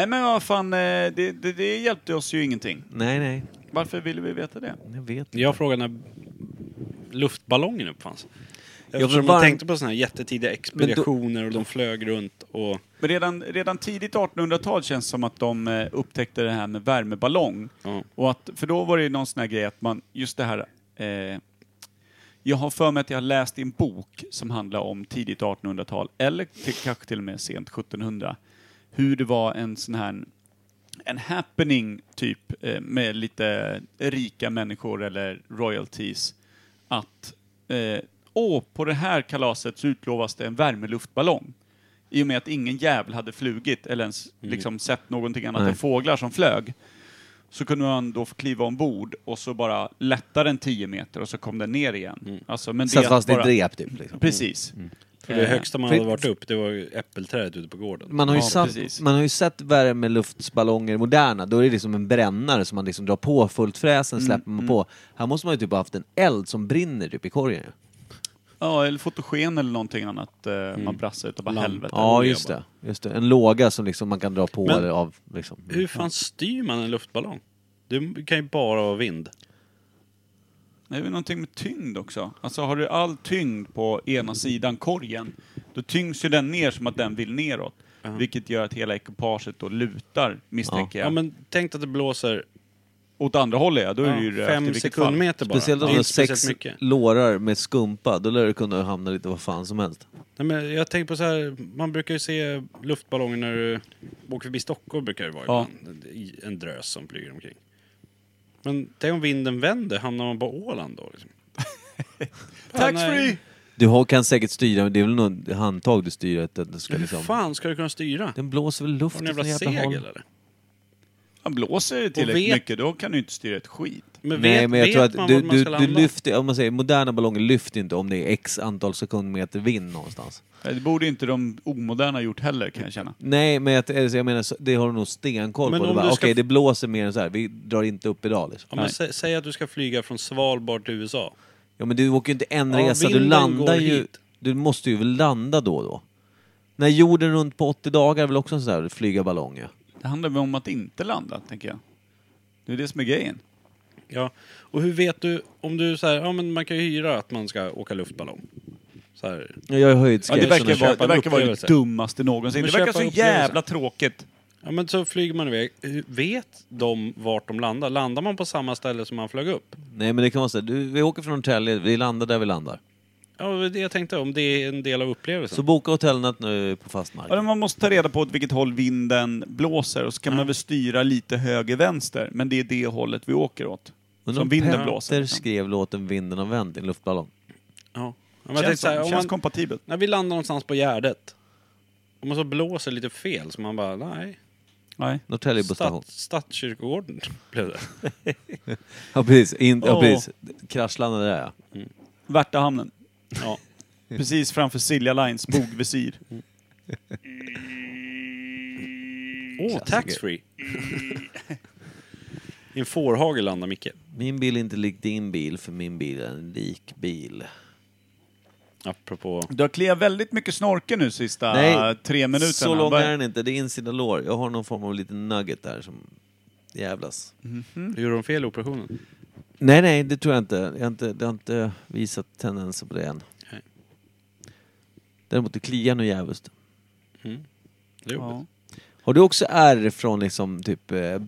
Speaker 2: men vad fan, eh, det, det, det hjälpte oss ju ingenting.
Speaker 3: Nej, nej.
Speaker 2: Varför ville vi veta det?
Speaker 3: Jag vet inte.
Speaker 1: Jag frågade när luftballongen uppfanns.
Speaker 3: tror
Speaker 1: Eftersom
Speaker 3: bara-
Speaker 1: de tänkte på sådana här jättetidiga expeditioner och de flög runt och...
Speaker 2: Men redan, redan tidigt 1800-tal känns det som att de eh, upptäckte det här med värmeballong.
Speaker 1: Ja.
Speaker 2: Och att, för då var det ju någon sån här grej att man, just det här, eh, jag har för mig att jag har läst i en bok som handlar om tidigt 1800-tal, eller till, kanske till och med sent 1700, hur det var en sån här en happening typ eh, med lite rika människor eller royalties att eh, åh, på det här kalaset så utlovas det en värmeluftballong. I och med att ingen jävel hade flugit eller ens liksom sett någonting annat
Speaker 3: Mm. Nej.
Speaker 2: än fåglar som flög så kunde han då få kliva ombord och så bara lätta den 10 meter och så kom den ner igen. Alltså, men
Speaker 3: Satt Mm. fast i
Speaker 2: bara-
Speaker 3: ett rep typ. Liksom.
Speaker 2: Precis.
Speaker 1: För det
Speaker 2: Eh,
Speaker 1: högsta man
Speaker 3: för-
Speaker 1: hade varit upp, det var ju äppelträdet ute på gården.
Speaker 3: Man har, ju
Speaker 2: Ja,
Speaker 3: satt,
Speaker 2: precis.
Speaker 3: man har ju sett värmeluftsballonger moderna, då är det liksom en brännare som man liksom drar på fullt fräsen,
Speaker 2: Mm,
Speaker 3: släpper man på. Här måste man ju typ ha haft en eld som brinner typ i korgen ju.
Speaker 2: Eh, Ja, eller fotogen eller någonting annat eh, man brassar utav bara
Speaker 1: Lamp.
Speaker 2: helvete.
Speaker 3: Mm. Ja,
Speaker 1: olja
Speaker 3: just
Speaker 1: bara.
Speaker 3: det. just det. En låga som liksom man kan dra på
Speaker 1: Men-
Speaker 3: eller av. Liksom.
Speaker 1: Hur fan styr man en luftballong? Det kan ju bara vara vind.
Speaker 2: Det är väl någonting med tyngd också. Alltså har du all tyngd på ena sidan korgen, då tyngs ju den ner som att den vill neråt. Vilket gör att hela ekipaget då lutar, misstänker
Speaker 1: Ja,
Speaker 2: jag.
Speaker 1: men tänk att det blåser
Speaker 2: Åt andra hållet, ja. Då är det ju
Speaker 1: ja,
Speaker 2: rökt i
Speaker 1: fem
Speaker 2: vilket
Speaker 1: sekundmeter bara.
Speaker 3: Speciellt om
Speaker 1: det är
Speaker 3: du har
Speaker 1: inte
Speaker 3: sex
Speaker 1: speciellt mycket.
Speaker 3: lårar med skumpa, då lär du kunna hamna lite vad fan som helst.
Speaker 1: Nej, men jag tänker på så här, man brukar ju se luftballonger när du åker förbi Stockholm, brukar det vara
Speaker 2: Ja.
Speaker 1: ibland. En drös som flyger omkring. Men tänk om vinden vänder, hamnar man på Åland då? Liksom.
Speaker 2: Taxfree!
Speaker 3: Du har, kan säkert styra, men det är väl något handtag du styr att den ska
Speaker 1: Hur
Speaker 3: liksom...
Speaker 1: fan ska du kunna styra?
Speaker 3: Den blåser väl
Speaker 1: Har
Speaker 3: luft
Speaker 1: du en jävla
Speaker 3: åt något
Speaker 1: segel
Speaker 3: håll.
Speaker 1: eller?
Speaker 2: Han blåser det tillräckligt
Speaker 1: vet-
Speaker 2: mycket, då kan du inte styra ett skit.
Speaker 1: Men
Speaker 3: Nej, men jag tror
Speaker 1: man
Speaker 3: att du,
Speaker 1: vart man
Speaker 3: du,
Speaker 1: ska
Speaker 3: du
Speaker 1: landa?
Speaker 3: lyfter, om man säger moderna ballonger lyfter inte om det är x antal sekundmeter vind någonstans.
Speaker 2: Det borde inte de omoderna gjort heller, kan jag känna.
Speaker 3: Nej, men jag, alltså, jag menar, så- det har du nog stenkoll
Speaker 1: Men
Speaker 3: på. Det
Speaker 1: om
Speaker 3: bara,
Speaker 1: du
Speaker 3: Okej,
Speaker 1: ska-
Speaker 3: det blåser mer än så här. Vi drar inte upp idag liksom.
Speaker 1: Ja, men
Speaker 2: Nej.
Speaker 1: sä, säg att du ska flyga från Svalbard till USA.
Speaker 3: Ja, men du åker ju inte en
Speaker 1: Ja,
Speaker 3: resa. Du
Speaker 1: vinden
Speaker 3: landar
Speaker 1: går
Speaker 3: ju...
Speaker 1: hit.
Speaker 3: Du måste ju väl landa då och då. När jorden runt på 80 dagar är väl också en sån där flyga ballong ja.
Speaker 2: Det handlar väl om att inte landa, tänker jag. Det är det som är grejen.
Speaker 1: Ja. Och hur vet du, om du så här, ja men man kan ju hyra att man ska åka luftballong. Så här.
Speaker 3: Ja, Jag är höjdskräck.
Speaker 2: Ja, det verkar,
Speaker 1: Köpa
Speaker 2: vara,
Speaker 1: en
Speaker 2: det verkar vara det
Speaker 1: upplevelse.
Speaker 2: dummaste någonsin.
Speaker 1: Men
Speaker 2: Det verkar
Speaker 1: köpa
Speaker 2: så
Speaker 1: en upplevelse.
Speaker 2: jävla tråkigt.
Speaker 1: Ja men så flyger man iväg. Hur- Vet de vart de landar? Landar man på samma ställe som man flög upp?
Speaker 3: Nej, men det kan vara så här, du, Vi åker från Norrtälje, vi landar där vi landar.
Speaker 1: Ja, det var det jag tänkte, om det är en del av upplevelsen.
Speaker 3: Så boka hotellnatt nu på fast mark.
Speaker 2: Ja, men man måste ta reda på åt vilket håll vinden blåser och så kan
Speaker 3: Mm.
Speaker 2: man väl styra lite höger-vänster. Men det är det hållet vi åker åt.
Speaker 3: Undrar
Speaker 2: Som
Speaker 3: om
Speaker 2: vinden
Speaker 3: Petter
Speaker 2: blåser. liksom.
Speaker 3: skrev låten Vinden har vänt i en luftballong.
Speaker 1: Ja. Ja, men jag
Speaker 2: Känns,
Speaker 1: tänkte så här,
Speaker 2: så,
Speaker 1: om
Speaker 2: känns
Speaker 1: man,
Speaker 2: kompatibelt.
Speaker 1: när vi landar någonstans på Gärdet, om man så blåser lite fel så man bara, nej.
Speaker 2: Nej.
Speaker 3: Norrtälje busstation.
Speaker 1: Stad, stadskyrkogården blev det.
Speaker 3: Ja precis, in, ja,
Speaker 2: Åh.
Speaker 3: precis. kraschlandade där ja.
Speaker 2: Värtahamnen.
Speaker 3: Mm.
Speaker 1: Ja.
Speaker 2: Precis framför Silja Lines bogvisir.
Speaker 1: Åh, taxfree! I en fårhage landar Micke.
Speaker 3: Min bil är inte lik din bil för min bil är en lik bil.
Speaker 1: Apropå...
Speaker 2: Du har kliat väldigt mycket snorke nu sista
Speaker 3: Nej,
Speaker 2: Ah, tre minuterna.
Speaker 3: Så lång
Speaker 2: Bara-
Speaker 3: är den inte, det är insida lår. Jag har någon form av liten nugget där som jävlas.
Speaker 2: Mhm.
Speaker 1: Gjorde de fel i operationen?
Speaker 3: Nej nej, det tror jag inte. Jag har inte, det har inte visat tendenser på det än.
Speaker 1: Nej.
Speaker 3: Däremot det kliar nog jävligt.
Speaker 1: Mm. Det är jobbigt.
Speaker 2: Ja.
Speaker 3: Har du också ärr från liksom typ eh,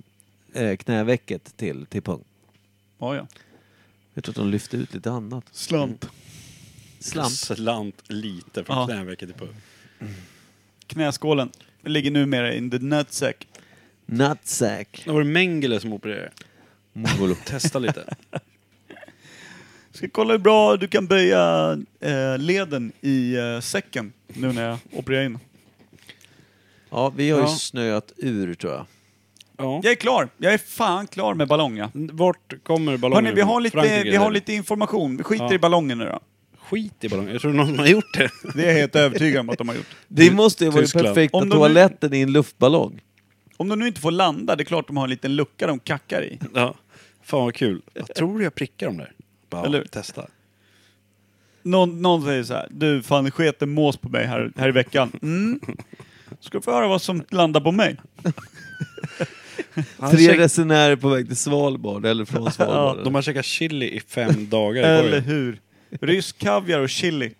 Speaker 3: eh, knävecket till, till pung?
Speaker 2: Ja, ja.
Speaker 3: Jag tror att de lyfte ut lite annat.
Speaker 2: Slant.
Speaker 3: Slamp.
Speaker 1: Slant lite från
Speaker 2: Ja.
Speaker 1: knävecket till pung.
Speaker 2: Knäskålen. Den ligger numera in the nutsack.
Speaker 3: Nutsack.
Speaker 1: Det var det Mengele som opererade.
Speaker 3: Mongolo.
Speaker 1: Testa lite.
Speaker 2: Ska kolla hur bra du kan böja eh, leden i eh, säcken nu när jag opererar in.
Speaker 3: Ja, vi har ju
Speaker 2: Ja.
Speaker 3: snöat ur tror jag.
Speaker 1: Ja.
Speaker 2: Jag är klar. Jag är fan klar med ballong, ja.
Speaker 1: Vart kommer ballongen
Speaker 2: Hörni, vi har
Speaker 1: ifrån?
Speaker 2: lite,
Speaker 1: Frankrike,
Speaker 2: vi har
Speaker 1: eller?
Speaker 2: lite information. Vi skiter
Speaker 1: Ja.
Speaker 2: i ballongen nu då.
Speaker 1: Skit i ballongen. Jag tror någon har gjort det.
Speaker 2: Det är jag helt övertygad om att de har gjort.
Speaker 3: Det måste ju vara
Speaker 1: Tyskland.
Speaker 3: perfekta
Speaker 2: Om de-
Speaker 3: toaletten i en luftballong.
Speaker 2: Om de nu inte får landa, det är klart de har en liten lucka de kackar i.
Speaker 1: Ja. Fan vad kul. Vad tror du jag prickar dem där? Bara,
Speaker 2: Eller hur?
Speaker 1: testa.
Speaker 2: Någon, någon säger så här, du fan det sket en mås på mig här, här i veckan. Mm. Ska du få höra vad som landar på mig?
Speaker 1: Han
Speaker 3: Tre
Speaker 1: käk-
Speaker 3: resenärer på väg till Svalbard, eller från Svalbard.
Speaker 1: De har käkat chili i fem dagar i
Speaker 2: Eller
Speaker 1: korgen.
Speaker 2: hur? Rysk kaviar och chili.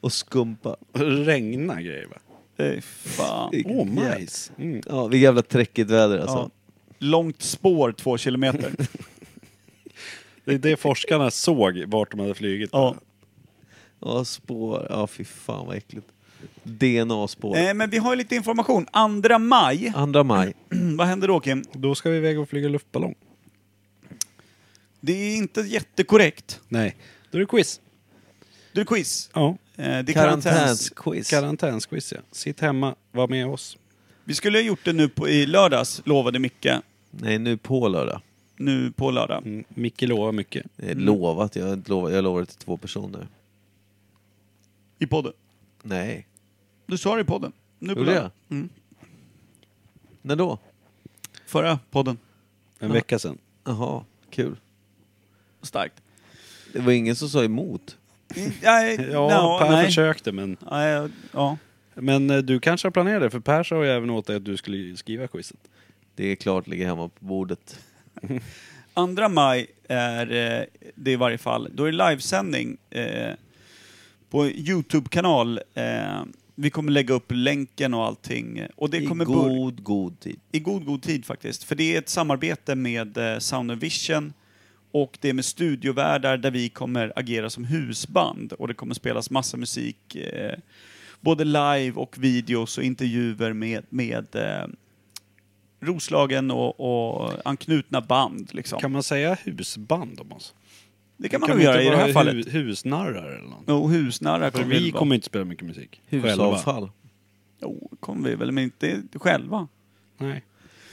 Speaker 3: Och skumpa.
Speaker 1: Regna grejer va?
Speaker 2: Ey, fan.
Speaker 3: Vilket
Speaker 1: Åh,
Speaker 3: jävla-
Speaker 1: majs. Mm.
Speaker 3: Ja, vilket jävla träckigt väder
Speaker 2: Ja.
Speaker 3: alltså.
Speaker 2: Långt spår, två kilometer.
Speaker 1: Det är det forskarna såg vart de hade flugit.
Speaker 2: Ja.
Speaker 3: Ja, spår. Ja, fy fan vad äckligt. DNA-spår.
Speaker 2: Eh, men vi har ju lite information. 2 maj,
Speaker 3: Andra maj.
Speaker 2: vad händer då Kim?
Speaker 1: Då ska vi iväg och flyga luftballong.
Speaker 2: Det är inte jättekorrekt.
Speaker 1: Nej. Då är det quiz.
Speaker 2: Du, quiz.
Speaker 1: Ja.
Speaker 2: Eh, det är karantäns.
Speaker 3: Karantänsquiz.
Speaker 1: Karantänsquiz ja. Sitt hemma, var med oss.
Speaker 2: Vi skulle ha gjort det nu på, i lördags, lovade Micke.
Speaker 3: Nej, nu på lördag.
Speaker 2: Nu på lördag.
Speaker 1: Mm. Micke lovar mycket.
Speaker 3: Det
Speaker 2: Mm.
Speaker 3: är lovat. Jag har inte lovat. Jag lovade till två personer.
Speaker 2: I podden.
Speaker 3: Nej.
Speaker 2: Du sa det i podden. Nu på
Speaker 3: Gjorde
Speaker 2: lördag. Mm.
Speaker 3: jag? När då?
Speaker 2: Förra podden.
Speaker 1: En vecka sedan.
Speaker 3: Jaha, kul.
Speaker 2: Starkt.
Speaker 3: Det var ingen som sa emot.
Speaker 2: Nej,
Speaker 1: Ja,
Speaker 2: no,
Speaker 1: Per
Speaker 2: nej.
Speaker 1: försökte men...
Speaker 2: Nej, ja.
Speaker 1: Men eh, du kanske har planerat det? För Per sa ju även åt dig att du skulle skriva quizet.
Speaker 3: Det är klart, ligger hemma på bordet.
Speaker 2: 2 maj är eh, det i varje fall. Då är det livesändning eh, på Youtube-kanal. Eh, vi kommer lägga upp länken och allting. Och det
Speaker 3: I
Speaker 2: kommer börja...
Speaker 3: god, god tid.
Speaker 2: i god, god tid faktiskt. För det är ett samarbete med eh, Sound and Vision och det är med studiovärdar där vi kommer agera som husband och det kommer spelas massa musik, eh, både live och videos och intervjuer med, med eh, Roslagen och, och anknutna band. Liksom.
Speaker 1: Kan man säga husband om oss?
Speaker 2: det kan man
Speaker 1: Kan
Speaker 2: nog
Speaker 1: vi
Speaker 2: göra
Speaker 1: inte
Speaker 2: i det
Speaker 1: vara
Speaker 2: här fallet.
Speaker 1: Hu husnarrar eller något?
Speaker 2: Jo, husnarrar
Speaker 1: För
Speaker 2: kommer
Speaker 1: vi
Speaker 2: vi,
Speaker 1: kommer
Speaker 2: kommer...
Speaker 1: inte spela mycket musik. Själva.
Speaker 3: Husavfall.
Speaker 2: Jo, kommer vi väl, men inte själva.
Speaker 1: Nej.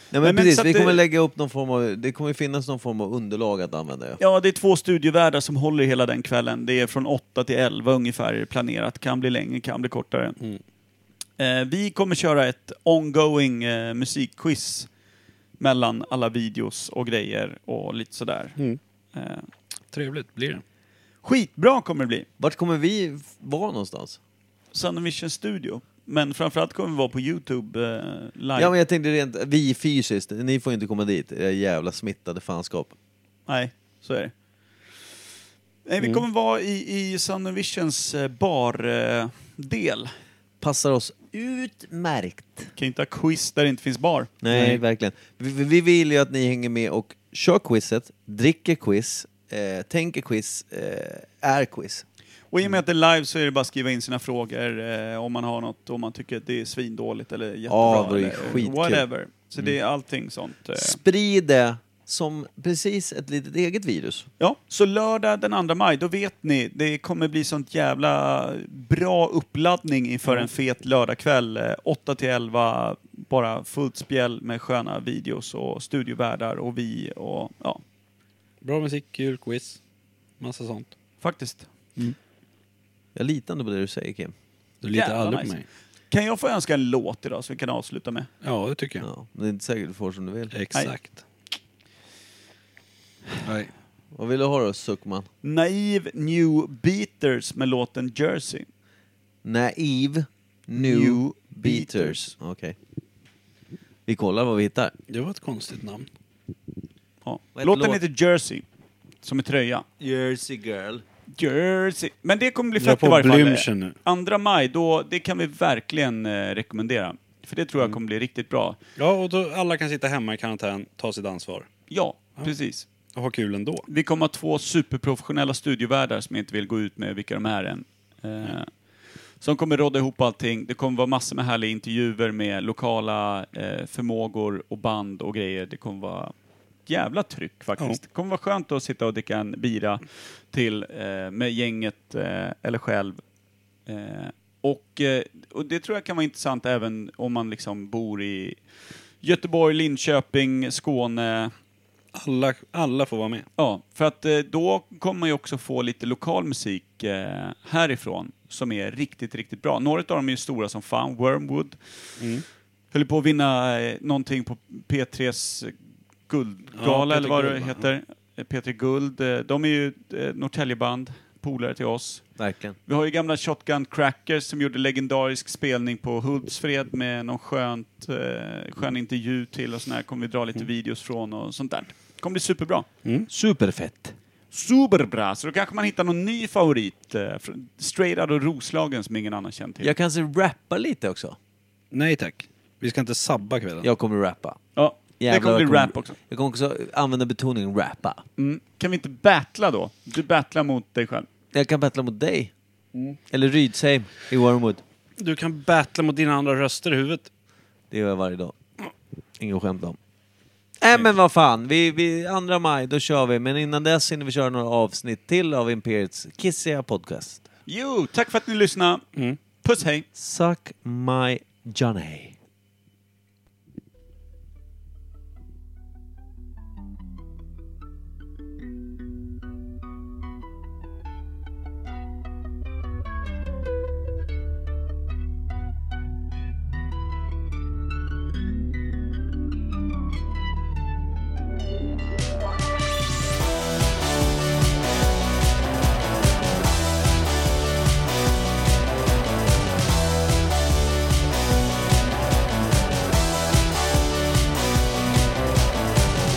Speaker 3: Nej, men
Speaker 2: Nej, men så
Speaker 3: precis,
Speaker 2: att
Speaker 3: vi
Speaker 2: det-
Speaker 3: kommer lägga upp någon form av, det kommer finnas någon form av underlag att använda. Ja.
Speaker 2: Ja, det är två studievärdar som håller hela den kvällen. Det är från 8 till 11 ungefär är det planerat. Kan bli längre, kan bli kortare.
Speaker 1: Mm.
Speaker 2: Eh, vi kommer köra ett ongoing eh, musikquiz mellan alla videos och grejer och lite sådär.
Speaker 1: Mm.
Speaker 2: Eh,
Speaker 1: Trevligt blir det.
Speaker 2: skitbra kommer det bli.
Speaker 3: Vart kommer vi f- vara någonstans?
Speaker 2: Sound of Mission Studio. Men framförallt kommer vi vara på Youtube eh, live.
Speaker 3: Ja men jag tänkte rent, vi fysiskt, ni får ju inte komma dit, era jävla smittade fanskap.
Speaker 2: Nej, så är det. Nej,
Speaker 3: Mm.
Speaker 2: vi kommer vara i, i Sound of Visions eh, bardel. Eh, del.
Speaker 3: Passar oss utmärkt.
Speaker 2: kan ju inte ha quiz där det inte finns bar.
Speaker 3: Nej, verkligen. Vi, vi- vi vill ju att ni hänger med och kör quizet, dricker quiz, eh, tänker quiz, eh, är quiz.
Speaker 2: Och
Speaker 3: Mm.
Speaker 2: i och med att det är live så är det bara att skriva in sina frågor eh, om man har något, om man tycker att det är svindåligt eller jättebra.
Speaker 3: Ja, det är
Speaker 2: eller,
Speaker 3: skitkul. Mm.
Speaker 2: Whatever. Så det är allting sånt. eh.
Speaker 3: Sprid det som precis ett litet eget virus.
Speaker 2: Ja, så lördag den 2 maj, då vet ni, det kommer bli sånt jävla bra uppladdning inför en fet lördagkväll. eh, 8 till 11, bara fullt spjäll med sköna videos och studiovärdar och vi och ja,
Speaker 1: Bra musik, kul quiz. Massa sånt.
Speaker 2: faktiskt.
Speaker 3: Jag litar ändå på det du säger Kim.
Speaker 1: Du litar
Speaker 2: Jävla
Speaker 1: aldrig
Speaker 2: nice.
Speaker 1: på mig.
Speaker 2: Kan jag få önska en låt idag som vi kan avsluta med?
Speaker 1: Ja, det tycker jag.
Speaker 3: Ja, men det är inte säkert du får som du vill.
Speaker 1: Exakt. Nej.
Speaker 3: Vad vill du ha då Suckman?
Speaker 2: Naive New Beaters med låten Jersey.
Speaker 3: Naive New,
Speaker 2: New
Speaker 3: Beaters.
Speaker 2: Beaters.
Speaker 3: Okej. Vi kollar vad vi hittar.
Speaker 1: Det var ett konstigt namn.
Speaker 2: Ja.
Speaker 3: Vad heter
Speaker 2: Låten
Speaker 3: låt?
Speaker 2: heter Jersey, som är tröja.
Speaker 3: Jersey Girl.
Speaker 2: Jersey. Men det kommer bli
Speaker 1: Dra
Speaker 2: fett i
Speaker 1: på
Speaker 2: varje fall.
Speaker 1: Blümchen nu.
Speaker 2: 2 maj, då, det kan vi verkligen eh, rekommendera. För det tror jag kommer bli riktigt bra.
Speaker 1: Ja, och då alla kan sitta hemma i karantän, ta sitt ansvar
Speaker 2: Ja, precis.
Speaker 1: och ha kul ändå.
Speaker 2: Vi kommer ha två superprofessionella studiovärdar som jag inte vill gå ut med vilka de är än. Eh, som kommer råda ihop allting. Det kommer vara massor med härliga intervjuer med lokala eh, förmågor och band och grejer. Det kommer vara jävla tryck faktiskt. Det kommer vara skönt att sitta och dricka en bira till eh, med gänget eh, eller själv. Eh, och, eh, och det tror jag kan vara intressant även om man liksom bor i Göteborg, Linköping, Skåne,
Speaker 1: Alla, alla får vara med.
Speaker 2: Ja, för att eh, då kommer man ju också få lite lokal musik eh, härifrån som är riktigt, riktigt bra. Några av dem är ju stora som fan, Wormwood.
Speaker 1: Mm.
Speaker 2: Höll på att vinna eh, någonting på P3s eh, guldgala
Speaker 1: Ja,
Speaker 2: eller vad
Speaker 1: P3
Speaker 2: det
Speaker 1: Guld, va?
Speaker 2: heter. Eh, P3 Guld. Eh, de är ju eh, Norrtäljeband, polare till oss.
Speaker 3: Verkligen.
Speaker 2: Vi har ju gamla Shotgun Crackers som gjorde legendarisk spelning på Hultsfred med någon skönt, eh, skön intervju till och sån här kommer vi dra
Speaker 1: Mm.
Speaker 2: lite videos från och sånt där. kommer bli superbra.
Speaker 3: Superfett.
Speaker 2: Superbra! Så då kanske man hittar någon ny favorit. Eh, från Straight Outta Roslagen som ingen annan känner till.
Speaker 3: Jag kanske rappar lite också.
Speaker 1: Nej tack. Vi ska inte sabba kvällen.
Speaker 3: Jag kommer rappa.
Speaker 2: Ja, det
Speaker 3: Jävlar,
Speaker 2: kommer bli
Speaker 3: jag kommer-
Speaker 2: rap också.
Speaker 3: Jag kommer också använda betoningen rappa.
Speaker 2: Mm. Kan vi inte battla då? Du battlar mot dig själv.
Speaker 3: Jag kan battla mot dig. Eller Rydsheim i Wormwood.
Speaker 1: Du kan battla mot dina andra röster i huvudet.
Speaker 3: Det gör jag varje dag. Inget skämt om. Nej men vad fan, vi, vi, 2 maj då kör vi. Men innan dess hinner vi köra några avsnitt till av Imperiets kissiga podcast.
Speaker 2: Jo, tack för att ni lyssnade. Puss hej!
Speaker 3: Suck my Johnny.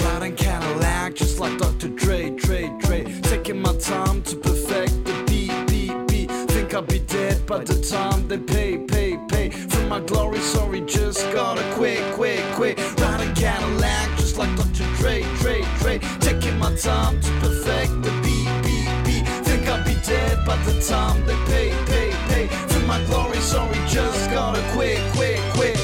Speaker 7: Riding Cadillac, just like Dr. Dre, Dre, Dre. Taking my time to perfect the beat, beat, beat. Think I'll be dead by the time they pay, pay, pay. For my glory, sorry, just gotta quit, quit, quit. Riding Cadillac, just like Dr. Dre, Dre, Dre. Taking my time to perfect the beat, beat, beat. Think I'll be dead by the time they pay, pay, pay. For my glory, sorry, just gotta quit, quit, quit.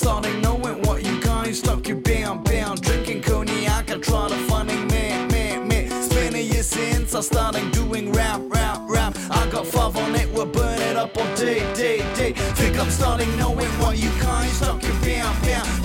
Speaker 7: Starting knowing what you guys stuck you bam bam Drinking cognac and trying to funny man man man It's been a year since I started doing rap rap rap I got five on it, we'll burn it up all day day day Think I'm starting knowing what you guys stuck you bam bam